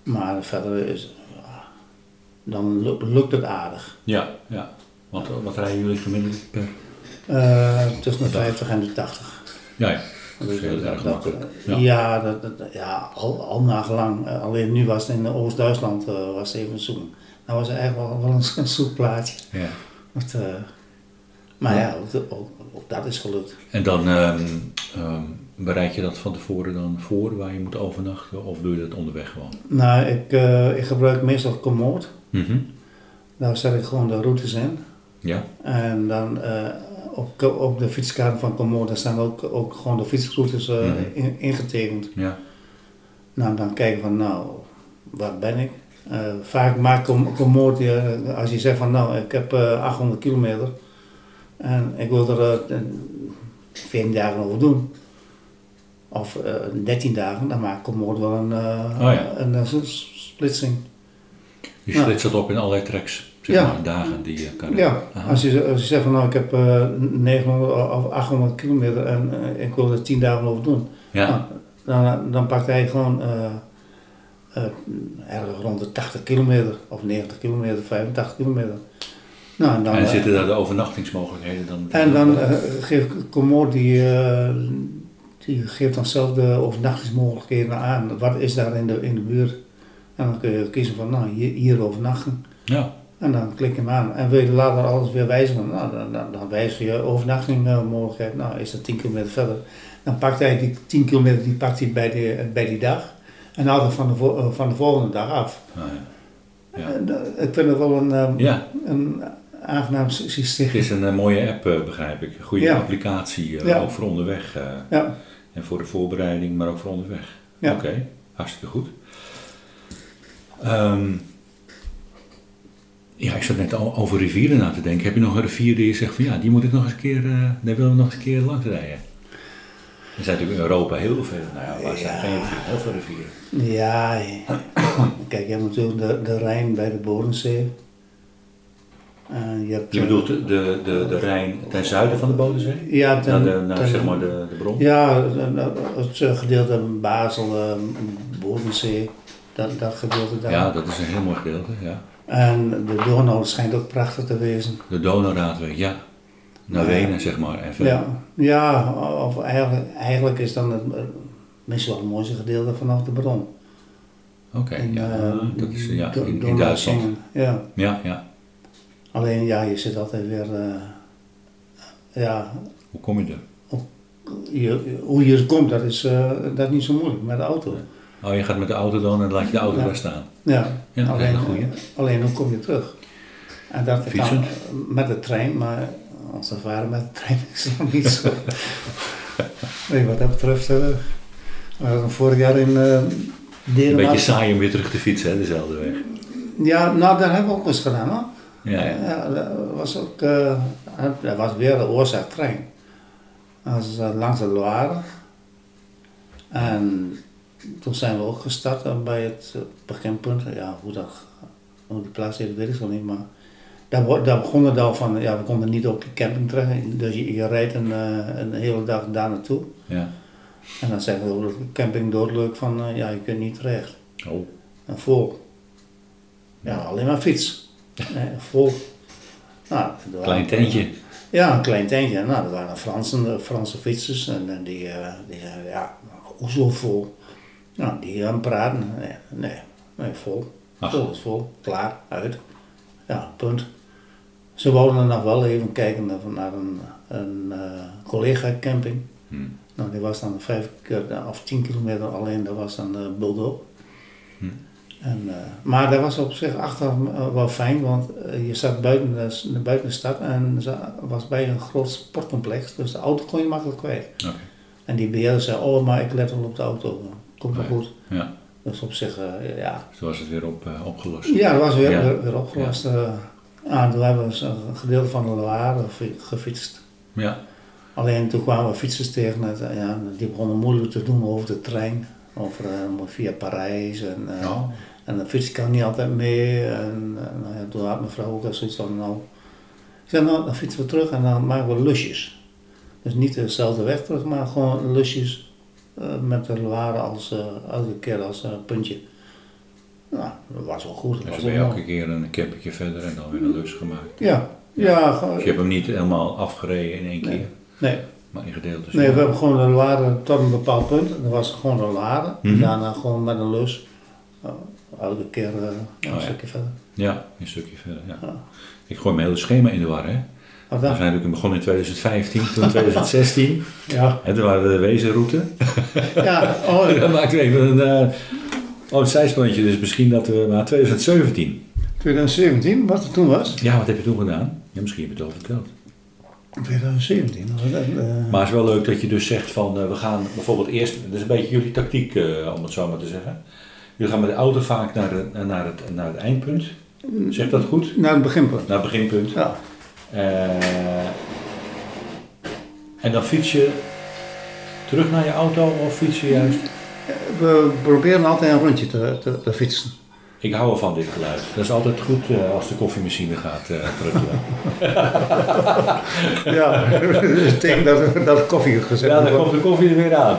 Speaker 2: Maar verder is. ja, dan luk- lukt het aardig.
Speaker 1: Ja, ja. Want eh, wat rijden jullie gemiddeld per?
Speaker 2: Eh, tussen de 50 en de 80.
Speaker 1: Ja, ja.
Speaker 2: Dus, eh, Dat
Speaker 1: is heel erg makkelijk. Ja.
Speaker 2: Ja, ja, dat, dat- ja al, al nagelang. Eh, Alleen nu was het in Oost-Duitsland eh, was het even zoen. Nou was het eigenlijk wel, wel een, een zoek plaatje.
Speaker 1: ja.
Speaker 2: Want, eh, maar ja, ook, de- ook- ook dat is gelukt.
Speaker 1: En dan ehm, ehm, bereid je dat van tevoren dan voor waar je moet overnachten of doe je dat onderweg gewoon?
Speaker 2: Nou, ik, eh, ik gebruik meestal Komoot.
Speaker 1: Mhm.
Speaker 2: Daar zet ik gewoon de routes in.
Speaker 1: Ja,
Speaker 2: En dan eh, op, op de fietskaart van Komoot daar staan ook, ook gewoon de fietsroutes eh,
Speaker 1: Mhm.
Speaker 2: in- ingetekend.
Speaker 1: ja,
Speaker 2: Nou, dan kijken van, nou, waar ben ik? Eh, vaak maakt com- Komoot, eh, als je zegt van, nou, ik heb eh, 800 kilometer en ik wil er eh, 14 dagen over doen. Of eh 13 dagen, dan maakt Komoot wel een, eh,
Speaker 1: Oh ja.
Speaker 2: een, eh, s- splitsing.
Speaker 1: je
Speaker 2: Ja.
Speaker 1: splitst dat op in allerlei tracks, zeg
Speaker 2: Ja.
Speaker 1: maar dagen die je kan
Speaker 2: Ja,
Speaker 1: Aha.
Speaker 2: als je, als je zegt van, nou, ik heb eh 900 of 800 kilometer en eh, ik wil er 10 dagen over doen.
Speaker 1: Ja,
Speaker 2: Nou, dan, dan pakt hij gewoon eh, eh, ergens rond de 80 kilometer of 90 kilometer, 85 kilometer. Nou, en dan,
Speaker 1: en
Speaker 2: eh,
Speaker 1: zitten daar de overnachtingsmogelijkheden dan?
Speaker 2: en dan eh, geeft Commode die, eh, die geeft dan zelf de overnachtingsmogelijkheden aan. Wat is daar in de, in de buurt? En dan kun je kiezen van, nou, hier, hier overnachten.
Speaker 1: Ja,
Speaker 2: En dan klik je hem aan. En wil je later alles weer wijzigen? Nou, dan, dan, dan wijzig je overnachtingsmogelijkheid. Nou, is dat 10 kilometer verder. Dan pakt hij die 10 kilometer die pakt hij bij, de, bij die dag. En haalt het van de, vo- eh, van de volgende dag af.
Speaker 1: Ah, ja. Ja.
Speaker 2: En, eh, ik vind het wel een, eh,
Speaker 1: ja,
Speaker 2: een aangenaam sy-
Speaker 1: het
Speaker 2: systeem.
Speaker 1: is een eh, mooie app eh, begrijp ik. Goede
Speaker 2: Ja.
Speaker 1: applicatie, eh,
Speaker 2: Ja.
Speaker 1: ook voor onderweg. eh,
Speaker 2: Ja.
Speaker 1: en voor de voorbereiding, maar ook voor onderweg.
Speaker 2: Ja.
Speaker 1: Oké, hartstikke goed. Ehm, ja, ik zat net al over rivieren na te denken. Heb je nog een rivier die je zegt van ja, die moet ik nog eens een keer, eh, daar willen we nog eens een keer langs rijden? Er zijn natuurlijk in Europa heel veel, nou ja, waar zijn
Speaker 2: Ja.
Speaker 1: geen rivieren? Heel veel rivieren.
Speaker 2: Ja, ja. kijk, je hebt natuurlijk de, de Rijn bij de Bodensee. Eh, En je hebt,
Speaker 1: Je
Speaker 2: eh,
Speaker 1: bedoelt de, de, de, de Rijn ten zuiden van de Bodensee?
Speaker 2: ja,
Speaker 1: Naar,
Speaker 2: ten,
Speaker 1: de, naar
Speaker 2: ten-
Speaker 1: zeg maar de, de bron?
Speaker 2: Ja, eh, het eh, gedeelte Basel, eh, Bodensee, dat, dat gedeelte daar.
Speaker 1: Ja, dat is een heel mooi gedeelte. Ja.
Speaker 2: En de Donau schijnt ook prachtig te wezen.
Speaker 1: De Donauraadweg, ja. Naar
Speaker 2: Ja.
Speaker 1: Wenen, zeg maar. En verder.
Speaker 2: Ja, ja of eigenlijk, eigenlijk is dan het eh, misschien wel het mooiste gedeelte vanaf de bron.
Speaker 1: Oké, ja.
Speaker 2: eh,
Speaker 1: dat is ja,
Speaker 2: Do-
Speaker 1: in, in
Speaker 2: Donau
Speaker 1: Duitsland.
Speaker 2: Zingen. Ja.
Speaker 1: Ja, ja.
Speaker 2: Alleen ja, je zit altijd weer. eh, ja,
Speaker 1: Hoe kom je er?
Speaker 2: je, hoe je er komt, dat is, eh, dat is niet zo moeilijk met de auto.
Speaker 1: Oh, je gaat met de auto dan en laat je de auto
Speaker 2: Ja.
Speaker 1: daar staan.
Speaker 2: Ja,
Speaker 1: Ja,
Speaker 2: alleen,
Speaker 1: hele goeie.
Speaker 2: alleen hoe kom je terug? En dat
Speaker 1: Fietsen?
Speaker 2: kan met de trein, maar als ervaren met de trein is het nog niet zo. nee, wat dat betreft, eh, we hadden vorig jaar in eh
Speaker 1: Een beetje
Speaker 2: Denemarken.
Speaker 1: saai om weer terug te fietsen, hè, dezelfde weg.
Speaker 2: Ja, nou, daar hebben we ook eens gedaan hoor.
Speaker 1: Ja, ja.
Speaker 2: dat was ook, eh, dat was weer de oorzaak trein. Dat was eh, langs de Loire. En toen zijn we ook gestart eh, bij het eh, beginpunt. Ja, hoe dat, hoe die plaats heet, weet ik zo niet, maar daar, wo- daar begon het al van, ja, we konden niet op de camping terecht. Dus je, je rijdt een, eh, een hele dag daar naartoe.
Speaker 1: ja.
Speaker 2: En dan zeggen we ook de camping doodleuk van, eh, ja, je kunt niet terecht.
Speaker 1: Oh,
Speaker 2: En vol. Ja, alleen maar fiets. Eh, vol. Nou, er waren-
Speaker 1: klein tentje.
Speaker 2: Ja, een klein tentje. Nou, dat waren Fransen, Franse fietsers. En, eh, die, eh, die zeiden, ja, hoezo vol? Nou, die gaan praten. Nee, nee, nee, vol.
Speaker 1: Ach.
Speaker 2: Vol is vol. Klaar, uit. Ja, punt. Ze wouden er nog wel even kijken naar- naar een, een eh, collega-camping.
Speaker 1: Hmm.
Speaker 2: Nou, die was dan vijf keer of tien kilometer alleen, dat was dan uh, Bulldog.
Speaker 1: Hm.
Speaker 2: En, eh, maar dat was op zich achteraf eh, wel fijn, want eh, je zat buiten de, s- buiten de stad en ze was bij een groot sportcomplex, dus de auto kon je makkelijk kwijt.
Speaker 1: Oké.
Speaker 2: En die beheerder zei, oh maar ik let wel op de auto, eh, komt wel
Speaker 1: Oh Ja.
Speaker 2: goed.
Speaker 1: Ja,
Speaker 2: Dus op zich, eh, ja,
Speaker 1: zo was het weer op, eh, opgelost.
Speaker 2: ja, dat was weer,
Speaker 1: Ja.
Speaker 2: weer, weer opgelost. eh. ah, toen hebben we een gedeelte van de Loire eh, fi- gefietst.
Speaker 1: Ja.
Speaker 2: Alleen toen kwamen we fietsers tegen, het, eh, ja, die begonnen moeilijk te doen over de trein, over, eh, via Parijs. En, eh,
Speaker 1: Oh.
Speaker 2: en de fiets kan niet altijd mee. En, eh, nou ja, toen had mijn vrouw ook al zoiets van, nou, ik zei, nou, dan fietsen we terug en dan maken we lusjes. Dus niet dezelfde weg terug, maar gewoon lusjes eh, met de Loire als eh, elke keer als eh, puntje. Nou, dat was wel goed. dat
Speaker 1: Dus
Speaker 2: was
Speaker 1: dan ben je
Speaker 2: wel
Speaker 1: elke keer een campetje verder en dan weer een lus gemaakt.
Speaker 2: Ja, ja, gewoon-
Speaker 1: Dus je hebt hem niet helemaal afgereden in één
Speaker 2: Nee.
Speaker 1: keer,
Speaker 2: nee,
Speaker 1: maar in gedeeltes.
Speaker 2: nee, we hebben gewoon de lade tot een bepaald punt. Dat was gewoon de lade.
Speaker 1: Mhm.
Speaker 2: Daarna gewoon met een lus. eh, elke keer eh, een
Speaker 1: Oh, ja.
Speaker 2: stukje verder.
Speaker 1: Ja, een stukje verder. Ja.
Speaker 2: Ja.
Speaker 1: Ik gooi mijn hele schema in de war, hè.
Speaker 2: Wat
Speaker 1: We zijn
Speaker 2: dan?
Speaker 1: natuurlijk begonnen in 2015, toen in 2016.
Speaker 2: Ja.
Speaker 1: En toen waren we de wezenroute.
Speaker 2: ja, oh,
Speaker 1: Dan maakten we even een, eh, oh, een zijsprongetje, dus misschien dat we naar 2017.
Speaker 2: 2017, wat het toen was?
Speaker 1: Ja, wat heb je toen gedaan? Ja, misschien heb je het al verteld.
Speaker 2: 2017, was dat? eh,
Speaker 1: Maar het is wel leuk dat je dus zegt van eh, we gaan bijvoorbeeld eerst, dat is een beetje jullie tactiek eh, om het zo maar te zeggen. Jullie gaan met de auto vaak naar, de, eh, naar, het, naar het eindpunt. Zeg dat goed?
Speaker 2: naar het beginpunt.
Speaker 1: Naar het beginpunt.
Speaker 2: Ja.
Speaker 1: Eh, en dan fiets je terug naar je auto of fiets je juist?
Speaker 2: We proberen altijd een rondje te, te, te fietsen.
Speaker 1: Ik hou ervan dit geluid. Dat is altijd goed eh, als de koffiemachine gaat eh drukken.
Speaker 2: Ja, dus tegen dat, dat koffie gezet
Speaker 1: Ja, dan
Speaker 2: wordt.
Speaker 1: komt de koffie er weer aan.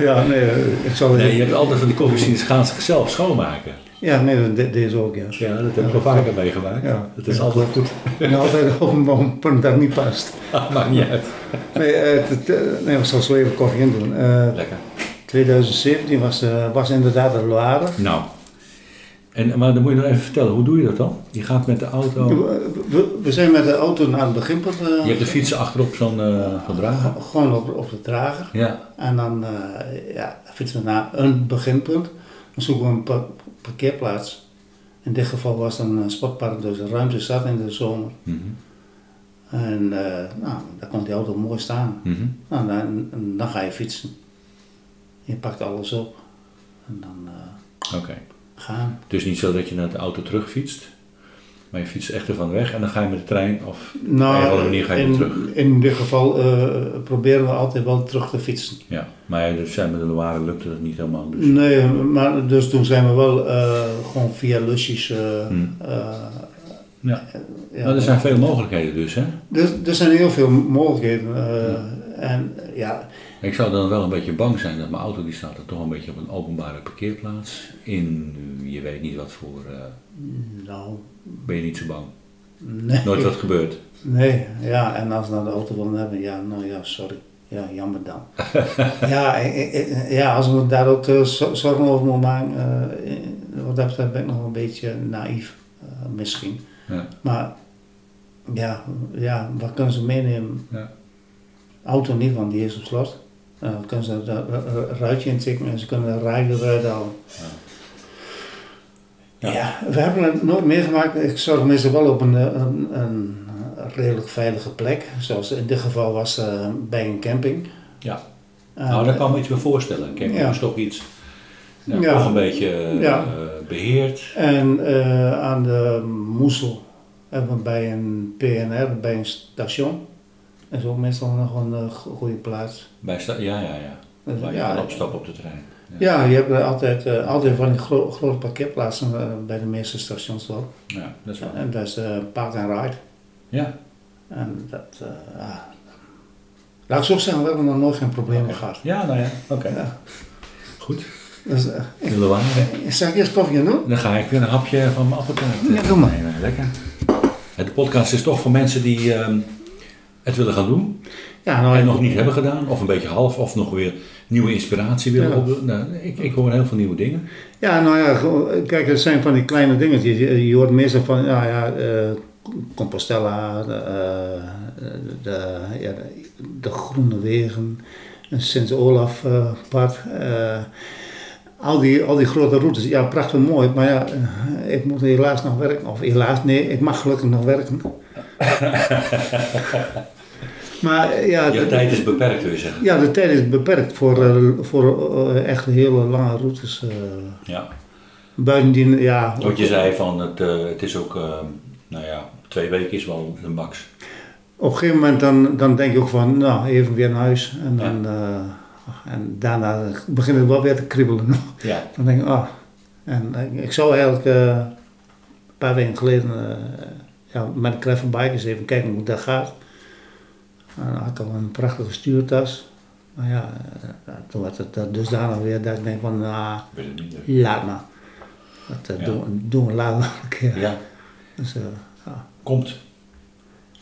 Speaker 2: Ja, nee, eh, ik zal
Speaker 1: Nee, je hebt altijd van die koffiemachines gaan zichzelf schoonmaken.
Speaker 2: Ja, nee, de- deze ook, ja.
Speaker 1: Ja, dat heb ik al vaker meegemaakt.
Speaker 2: Ja.
Speaker 1: Dat is altijd goed.
Speaker 2: En altijd op een, op een punt dat niet past.
Speaker 1: Maakt niet uit.
Speaker 2: Nee, eh, het- het- nee, ik zal zo even koffie in doen. Eh,
Speaker 1: Lekker.
Speaker 2: 2017 was, eh, was inderdaad de Loire.
Speaker 1: Nou. En, maar dan moet je nog even vertellen, hoe doe je dat dan? Je gaat met de auto...
Speaker 2: We, we- we zijn met de auto naar het beginpunt. eh,
Speaker 1: Je hebt de fietsen achterop zo'n eh zo'n drager.
Speaker 2: ge- Gewoon op, op de drager.
Speaker 1: Ja.
Speaker 2: En dan eh, ja, fietsen we naar een beginpunt. Dan zoeken we een pa- parkeerplaats. In dit geval was het een eh, sportpark, dus de ruimte zat in de zomer.
Speaker 1: Mhm.
Speaker 2: En eh, nou, daar kon die auto mooi staan.
Speaker 1: Mhm.
Speaker 2: Nou, dan, dan ga je fietsen. Je pakt alles op. En dan eh,
Speaker 1: Oké.
Speaker 2: gaan.
Speaker 1: Het is niet zo dat je naar de auto terugfietst. Maar je fietst echt ervan weg en dan ga je met de trein of... Op een of andere manier ga je
Speaker 2: Nou, in,
Speaker 1: weer terug.
Speaker 2: in dit geval eh, proberen we altijd wel terug te fietsen.
Speaker 1: Ja. Maar ja, dus zijn met de Loire lukte dat niet helemaal. Dus.
Speaker 2: Nee, maar dus toen zijn we wel eh, gewoon via lusjes eh,
Speaker 1: Hmm.
Speaker 2: eh,
Speaker 1: Ja.
Speaker 2: Ja,
Speaker 1: Nou, er zijn veel mogelijkheden dus, hè?
Speaker 2: er, er zijn heel veel mogelijkheden. eh, En ja,
Speaker 1: Ik zou dan wel een beetje bang zijn dat mijn auto die staat er toch een beetje op een openbare parkeerplaats. In je weet niet wat voor. eh,
Speaker 2: nou,
Speaker 1: ben je niet zo bang.
Speaker 2: nee.
Speaker 1: Nooit wat gebeurt.
Speaker 2: Eh, Nee, ja, en als ze naar de auto willen hebben, ja, nou ja, sorry. Ja, jammer dan. ja, eh, ik- ik- ja, als we daar ook eh, zo- zorgen over moeten maken, eh, eh, wat dat betreft ben ik nog een beetje naïef, eh, misschien.
Speaker 1: Ja.
Speaker 2: Maar ja, ja, wat kunnen ze meenemen?
Speaker 1: Ja.
Speaker 2: Auto niet, want die is op slot. Eh, Dan kunnen ze er een ru- ru- ruitje in tikken en ze kunnen een rijwiel eruit halen.
Speaker 1: Ja.
Speaker 2: Ja. we hebben het nooit meegemaakt. Ik zorg meestal wel op een, eh, een, een redelijk veilige plek. Zoals in dit geval was eh, bij een camping.
Speaker 1: Ja.
Speaker 2: Eh,
Speaker 1: nou, daar kan ik me iets bij voorstellen. Camping
Speaker 2: Ja.
Speaker 1: is toch iets. nou,
Speaker 2: Ja.
Speaker 1: Toch een beetje eh,
Speaker 2: Ja.
Speaker 1: eh, beheerd.
Speaker 2: En eh, aan de Moesel hebben we bij een PNR, bij een station. Dat is ook meestal nog een eh, go- goede plaats.
Speaker 1: Bij sta- ja, ja, ja.
Speaker 2: Dus,
Speaker 1: Waar je kan opstappen op de trein.
Speaker 2: Ja, je hebt eh, altijd, eh, altijd van die gro- grote parkeerplaatsen eh, bij de meeste stations wel.
Speaker 1: Ja, dat is waar.
Speaker 2: En dat is eh paard en ride.
Speaker 1: Ja.
Speaker 2: En dat, eh, ja. Laat ik zo zeggen, we hebben nog nooit geen problemen
Speaker 1: Oké.
Speaker 2: gehad.
Speaker 1: Ja, nou ja. Oké.
Speaker 2: Ja.
Speaker 1: Goed.
Speaker 2: Dus, eh,
Speaker 1: Zullen we aan?
Speaker 2: zal ik eerst koffie gaan doen?
Speaker 1: Dan ga ik weer een hapje van mijn appeltaart eh,
Speaker 2: Ja, doe maar.
Speaker 1: nemen. Lekker. Ja, De podcast is toch voor mensen die ehm, het willen gaan doen.
Speaker 2: Ja, nou,
Speaker 1: En
Speaker 2: ik-
Speaker 1: nog niet hebben gedaan. Of een beetje half. Of nog weer nieuwe inspiratie willen
Speaker 2: Ja.
Speaker 1: opdoen. Nou, ik, ik hoor heel veel nieuwe dingen.
Speaker 2: Ja, nou ja, gewoon, kijk, het zijn van die kleine dingetjes. Je, je hoort meestal van, nou ja, eh, Compostela, de, eh, de, ja, de, de Groene Wegen, een Sint-Olaf-pad. eh, al, die, al die grote routes, ja, prachtig mooi. Maar ja, eh, ik moet helaas nog werken. Of helaas, nee, ik mag gelukkig nog werken. maar eh, ja,
Speaker 1: Je
Speaker 2: de-
Speaker 1: tijd is beperkt wil je zeggen.
Speaker 2: ja, de tijd is beperkt voor, eh, voor eh, echt hele lange routes. eh.
Speaker 1: Ja.
Speaker 2: Buitendien, ja.
Speaker 1: Wat je zei van het, eh, het is ook, eh, nou ja, twee weken is wel de max.
Speaker 2: Op een gegeven moment dan, dan denk je ook van, nou, even weer naar huis. En, dan, eh, en daarna begint het wel weer te kriebelen.
Speaker 1: Ja.
Speaker 2: dan denk ik, ah. En ik, ik zou eigenlijk eh, een paar weken geleden eh, ja, met een craft bike eens even kijken hoe dat gaat. En dan had ik al een prachtige stuurtas. Maar ja, eh, toen werd het eh, dusdanig weer dat ik denk van, nou,
Speaker 1: Ik weet het niet. dus. hè.
Speaker 2: laat maar. Dat
Speaker 1: Ja.
Speaker 2: eh, doen, doen we later nog een keer.
Speaker 1: Ja,
Speaker 2: Dus, eh,
Speaker 1: komt.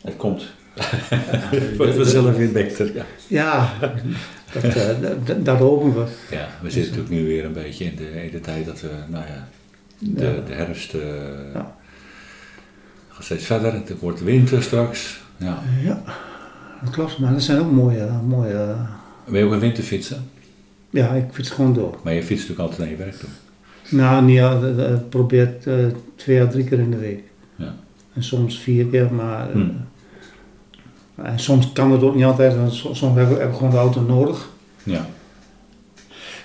Speaker 1: Het komt. Het wordt vanzelf weer beter. Ja.
Speaker 2: Ja, dat, eh, d- d- dat hopen we.
Speaker 1: Ja, we zitten natuurlijk nu weer een beetje in de, in de tijd dat we, nou ja, de, de herfst eh,
Speaker 2: Ja.
Speaker 1: gaat steeds verder. Het wordt winter straks. Ja.
Speaker 2: Ja, dat klopt. Maar dat zijn ook mooie, mooie... eh,
Speaker 1: Ben je ook een winterfietser?
Speaker 2: Ja, ik fiets gewoon door.
Speaker 1: Maar je fietst natuurlijk altijd naar je werk toe.
Speaker 2: Nou, niet, al- eh, eh, probeer het eh, twee à drie keer in de week.
Speaker 1: Ja.
Speaker 2: En soms vier keer, maar... eh,
Speaker 1: Hmm.
Speaker 2: En soms kan dat ook niet altijd, want so- soms heb ik, heb ik gewoon de auto nodig.
Speaker 1: Ja.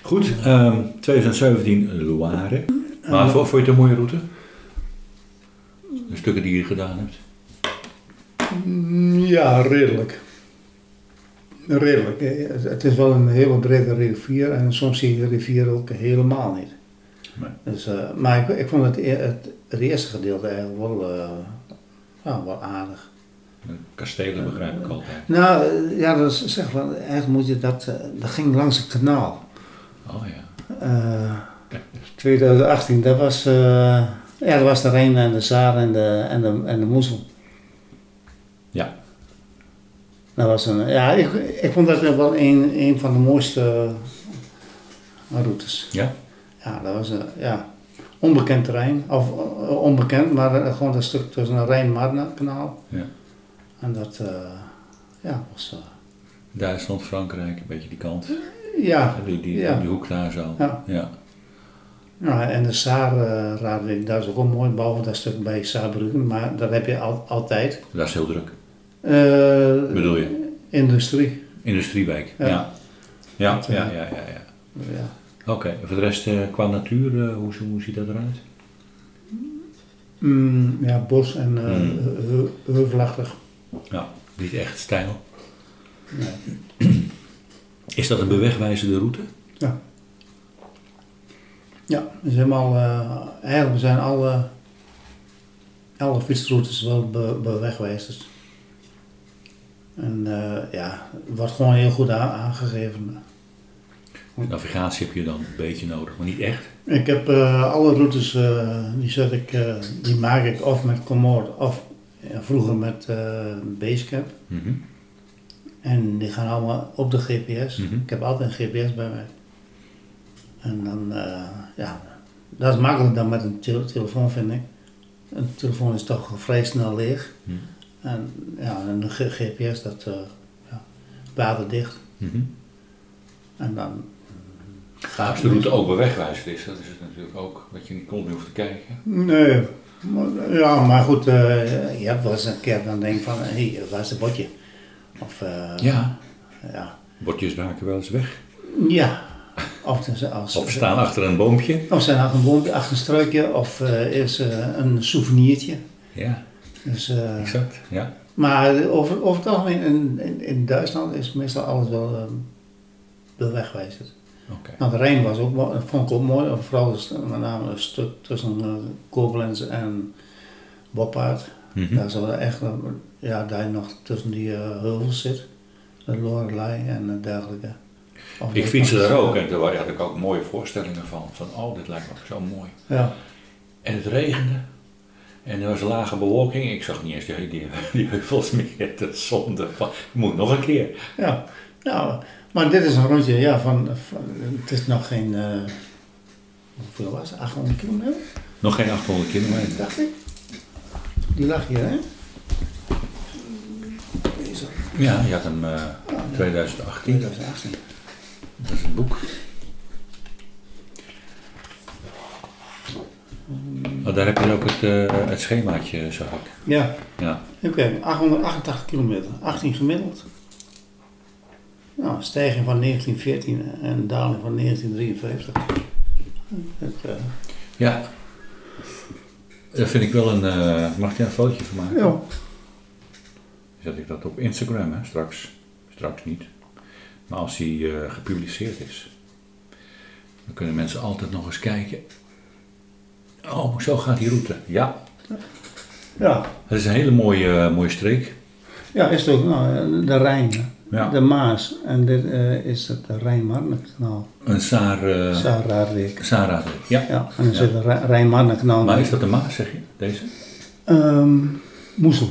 Speaker 1: Goed, ehm, 2017 Loire.
Speaker 2: Hm.
Speaker 1: Maar vond vond je het een mooie route? De stukken die je gedaan hebt?
Speaker 2: Mm, Ja, redelijk. Redelijk. Eh, Het het is wel een hele brede rivier en soms zie je de rivier ook helemaal niet.
Speaker 1: Nee.
Speaker 2: Dus, eh, maar ik, ik vond het, e- het, het eerste gedeelte eigenlijk wel, eh, ja, wel aardig.
Speaker 1: Kastelen begrijp ik altijd.
Speaker 2: Nou, eh, ja, dat is, zeg maar, eigenlijk moet je dat, eh, dat ging langs het kanaal.
Speaker 1: Oh ja.
Speaker 2: Eh, 2018, dat was, eh, ja, dat was de Rijn en de Zaar en de, en de, en de Moezel.
Speaker 1: Ja.
Speaker 2: Dat was een, ja, ik, ik vond dat wel een, een van de mooiste eh, routes.
Speaker 1: Ja?
Speaker 2: Ja, dat was een ja, onbekend terrein. Of eh, onbekend, maar eh, gewoon dat stuk tussen een Rijn-Marna-kanaal.
Speaker 1: Ja.
Speaker 2: En dat eh, ja, was... eh,
Speaker 1: Duitsland, Frankrijk, een beetje die kant.
Speaker 2: ja,
Speaker 1: Die, die,
Speaker 2: Ja.
Speaker 1: die hoek daar zo.
Speaker 2: Ja.
Speaker 1: ja.
Speaker 2: nou, en de eh, Saar-raadweg, daar is ook wel mooi, behalve dat stuk bij Saarbruggen. Maar dat heb je al, altijd.
Speaker 1: Dat is heel druk.
Speaker 2: Eh,
Speaker 1: Bedoel je?
Speaker 2: Industrie.
Speaker 1: Industriewijk. Ja.
Speaker 2: Ja.
Speaker 1: Ja, ja,
Speaker 2: Dat, eh,
Speaker 1: ja, ja. ja,
Speaker 2: Ja.
Speaker 1: Oké, en voor de rest eh, qua natuur, eh, hoe, zo- hoe ziet dat eruit?
Speaker 2: Mm, ja, bos en eh
Speaker 1: Mm.
Speaker 2: he- heuvelachtig.
Speaker 1: Ja, niet echt stijl.
Speaker 2: Nee.
Speaker 1: Is dat een bewegwijzende route?
Speaker 2: Ja. Ja, dus helemaal, eh, eigenlijk zijn alle, alle fietsroutes wel be, be- wegwijzers. En eh, ja, wordt gewoon heel goed a- aangegeven.
Speaker 1: Navigatie heb je dan een beetje nodig, maar niet echt.
Speaker 2: Ik heb eh, alle routes, eh, die, zet ik, eh, die maak ik of met Commode of eh, vroeger met eh, Basecamp.
Speaker 1: Mhm.
Speaker 2: En die gaan allemaal op de GPS.
Speaker 1: Mhm.
Speaker 2: Ik heb altijd een GPS bij mij. En dan, eh, ja, dat is makkelijk dan met een tele- telefoon, vind ik. Een telefoon is toch vrij snel leeg.
Speaker 1: Mhm.
Speaker 2: En ja, een G- GPS, dat eh ja, waterdicht.
Speaker 1: Mhm.
Speaker 2: En dan.
Speaker 1: Als de route ook bij wegwijzer is, dat is het natuurlijk ook, dat je niet continu hoeft te kijken.
Speaker 2: Nee, maar, ja, maar goed, eh, je hebt wel eens een keer dan denk je van, hé, hey, waar is het bordje? Of, eh,
Speaker 1: Ja.
Speaker 2: ja.
Speaker 1: Bordjes raken wel eens weg.
Speaker 2: Ja. Of, dus als,
Speaker 1: Of staan achter een boompje.
Speaker 2: Of zijn achter een boompje, achter een struikje, of eh, is eh, een souveniertje.
Speaker 1: Ja,
Speaker 2: Dus, eh,
Speaker 1: exact. Ja.
Speaker 2: maar over, over het algemeen in, in, in Duitsland is meestal alles wel eh, wel wegwijzerd.
Speaker 1: Oké.
Speaker 2: Nou, de Rijn was ook, mo- vond ik ook mooi, vooral dus, met name het stuk tussen eh, Koblenz en Boppaard.
Speaker 1: Mhm.
Speaker 2: Daar is wel echt, eh, ja, daar je nog tussen die eh, heuvels zit, de Lorelei en eh, dergelijke. Of
Speaker 1: Ik
Speaker 2: dat-
Speaker 1: fietste daar ook en daar had ik ook mooie voorstellingen van. Van, oh, dit lijkt me ook zo mooi.
Speaker 2: Ja.
Speaker 1: En het regende. En er was lage bewolking. Ik zag niet eens die, die, die heuvels meer. De zonde van, moet nog een keer.
Speaker 2: Ja, ja, maar dit is een rondje, ja, van, van- het is nog geen, eh, hoeveel was het, 800 kilometer,
Speaker 1: Nog geen 800 kilometer.
Speaker 2: dacht ik. Die lag hier, hè? Deze,
Speaker 1: Ja, je had hem eh, 2018.
Speaker 2: 2018.
Speaker 1: Dat is het boek. Oh, daar heb je ook het, eh, het schemaatje, zag ik.
Speaker 2: Ja,
Speaker 1: Ja.
Speaker 2: oké, 888 kilometer, 18 gemiddeld. Nou, stijging van 1914 en daling van 1953. Het, eh,
Speaker 1: ja. Daar vind ik wel een... eh, mag ik daar een fotootje van maken?
Speaker 2: ja,
Speaker 1: Zet ik dat op Instagram, hè? Straks. Straks niet. Maar als die eh, gepubliceerd is. Dan kunnen mensen altijd nog eens kijken. Oh, zo gaat die route. Ja.
Speaker 2: ja,
Speaker 1: Het is een hele mooie, eh, mooie streek.
Speaker 2: Ja, is het ook. Nou, de Rijn,
Speaker 1: Ja.
Speaker 2: de Maas. En dit eh, is het Rijn-Marne-kanaal.
Speaker 1: Een Saar... eh,
Speaker 2: Saarraadwijk.
Speaker 1: Sarah. Ja.
Speaker 2: Ja, en dan zit de Rij- Rijn-Marne-kanaal.
Speaker 1: Maar is dat de Maas, zeg je? Deze?
Speaker 2: Ehm, Moezel.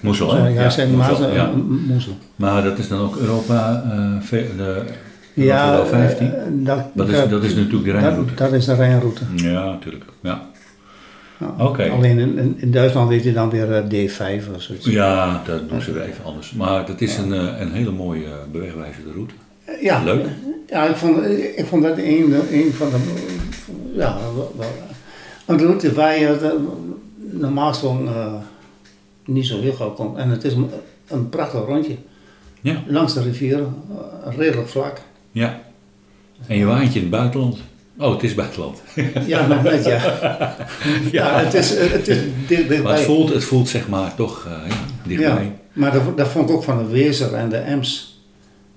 Speaker 1: Moezel, hè?
Speaker 2: Sorry, hij zei
Speaker 1: Moezel,
Speaker 2: Maas, eh,
Speaker 1: ja.
Speaker 2: M- Moezel.
Speaker 1: Maar dat is dan ook Europa, eh, ve- de,
Speaker 2: Ja,
Speaker 1: Europa 15?
Speaker 2: eh, dat,
Speaker 1: dat, is, dat is natuurlijk de Rijnroute.
Speaker 2: Dat, dat is de Rijnroute.
Speaker 1: Ja, natuurlijk. Ja.
Speaker 2: Ja.
Speaker 1: Oké.
Speaker 2: Alleen in- in, in Duitsland heet hij dan weer eh, D5 of zoiets.
Speaker 1: ja, dat doen ze weer even anders. Maar dat is een, eh, een hele mooie eh, bewegwijzende route.
Speaker 2: Ja,
Speaker 1: Leuk.
Speaker 2: Ja, ik vond, eh, ik vond dat een, een van de. Ja, wel, wel- een route waar je de- normaal gesproken eh, niet zo heel gauw komt. En het is een, een prachtig rondje.
Speaker 1: Ja.
Speaker 2: Langs de rivier, eh, redelijk vlak.
Speaker 1: Ja. En je waantje in het buitenland. Oh, het is buitenland.
Speaker 2: Ja, nog net, ja. Ja, het is, eh, het is dicht,
Speaker 1: Maar het
Speaker 2: dichtbij.
Speaker 1: voelt, het voelt zeg maar toch eh, ja,
Speaker 2: Ja,
Speaker 1: dichtbij.
Speaker 2: maar dat, dat vond ik ook van de Wezer en de Ems.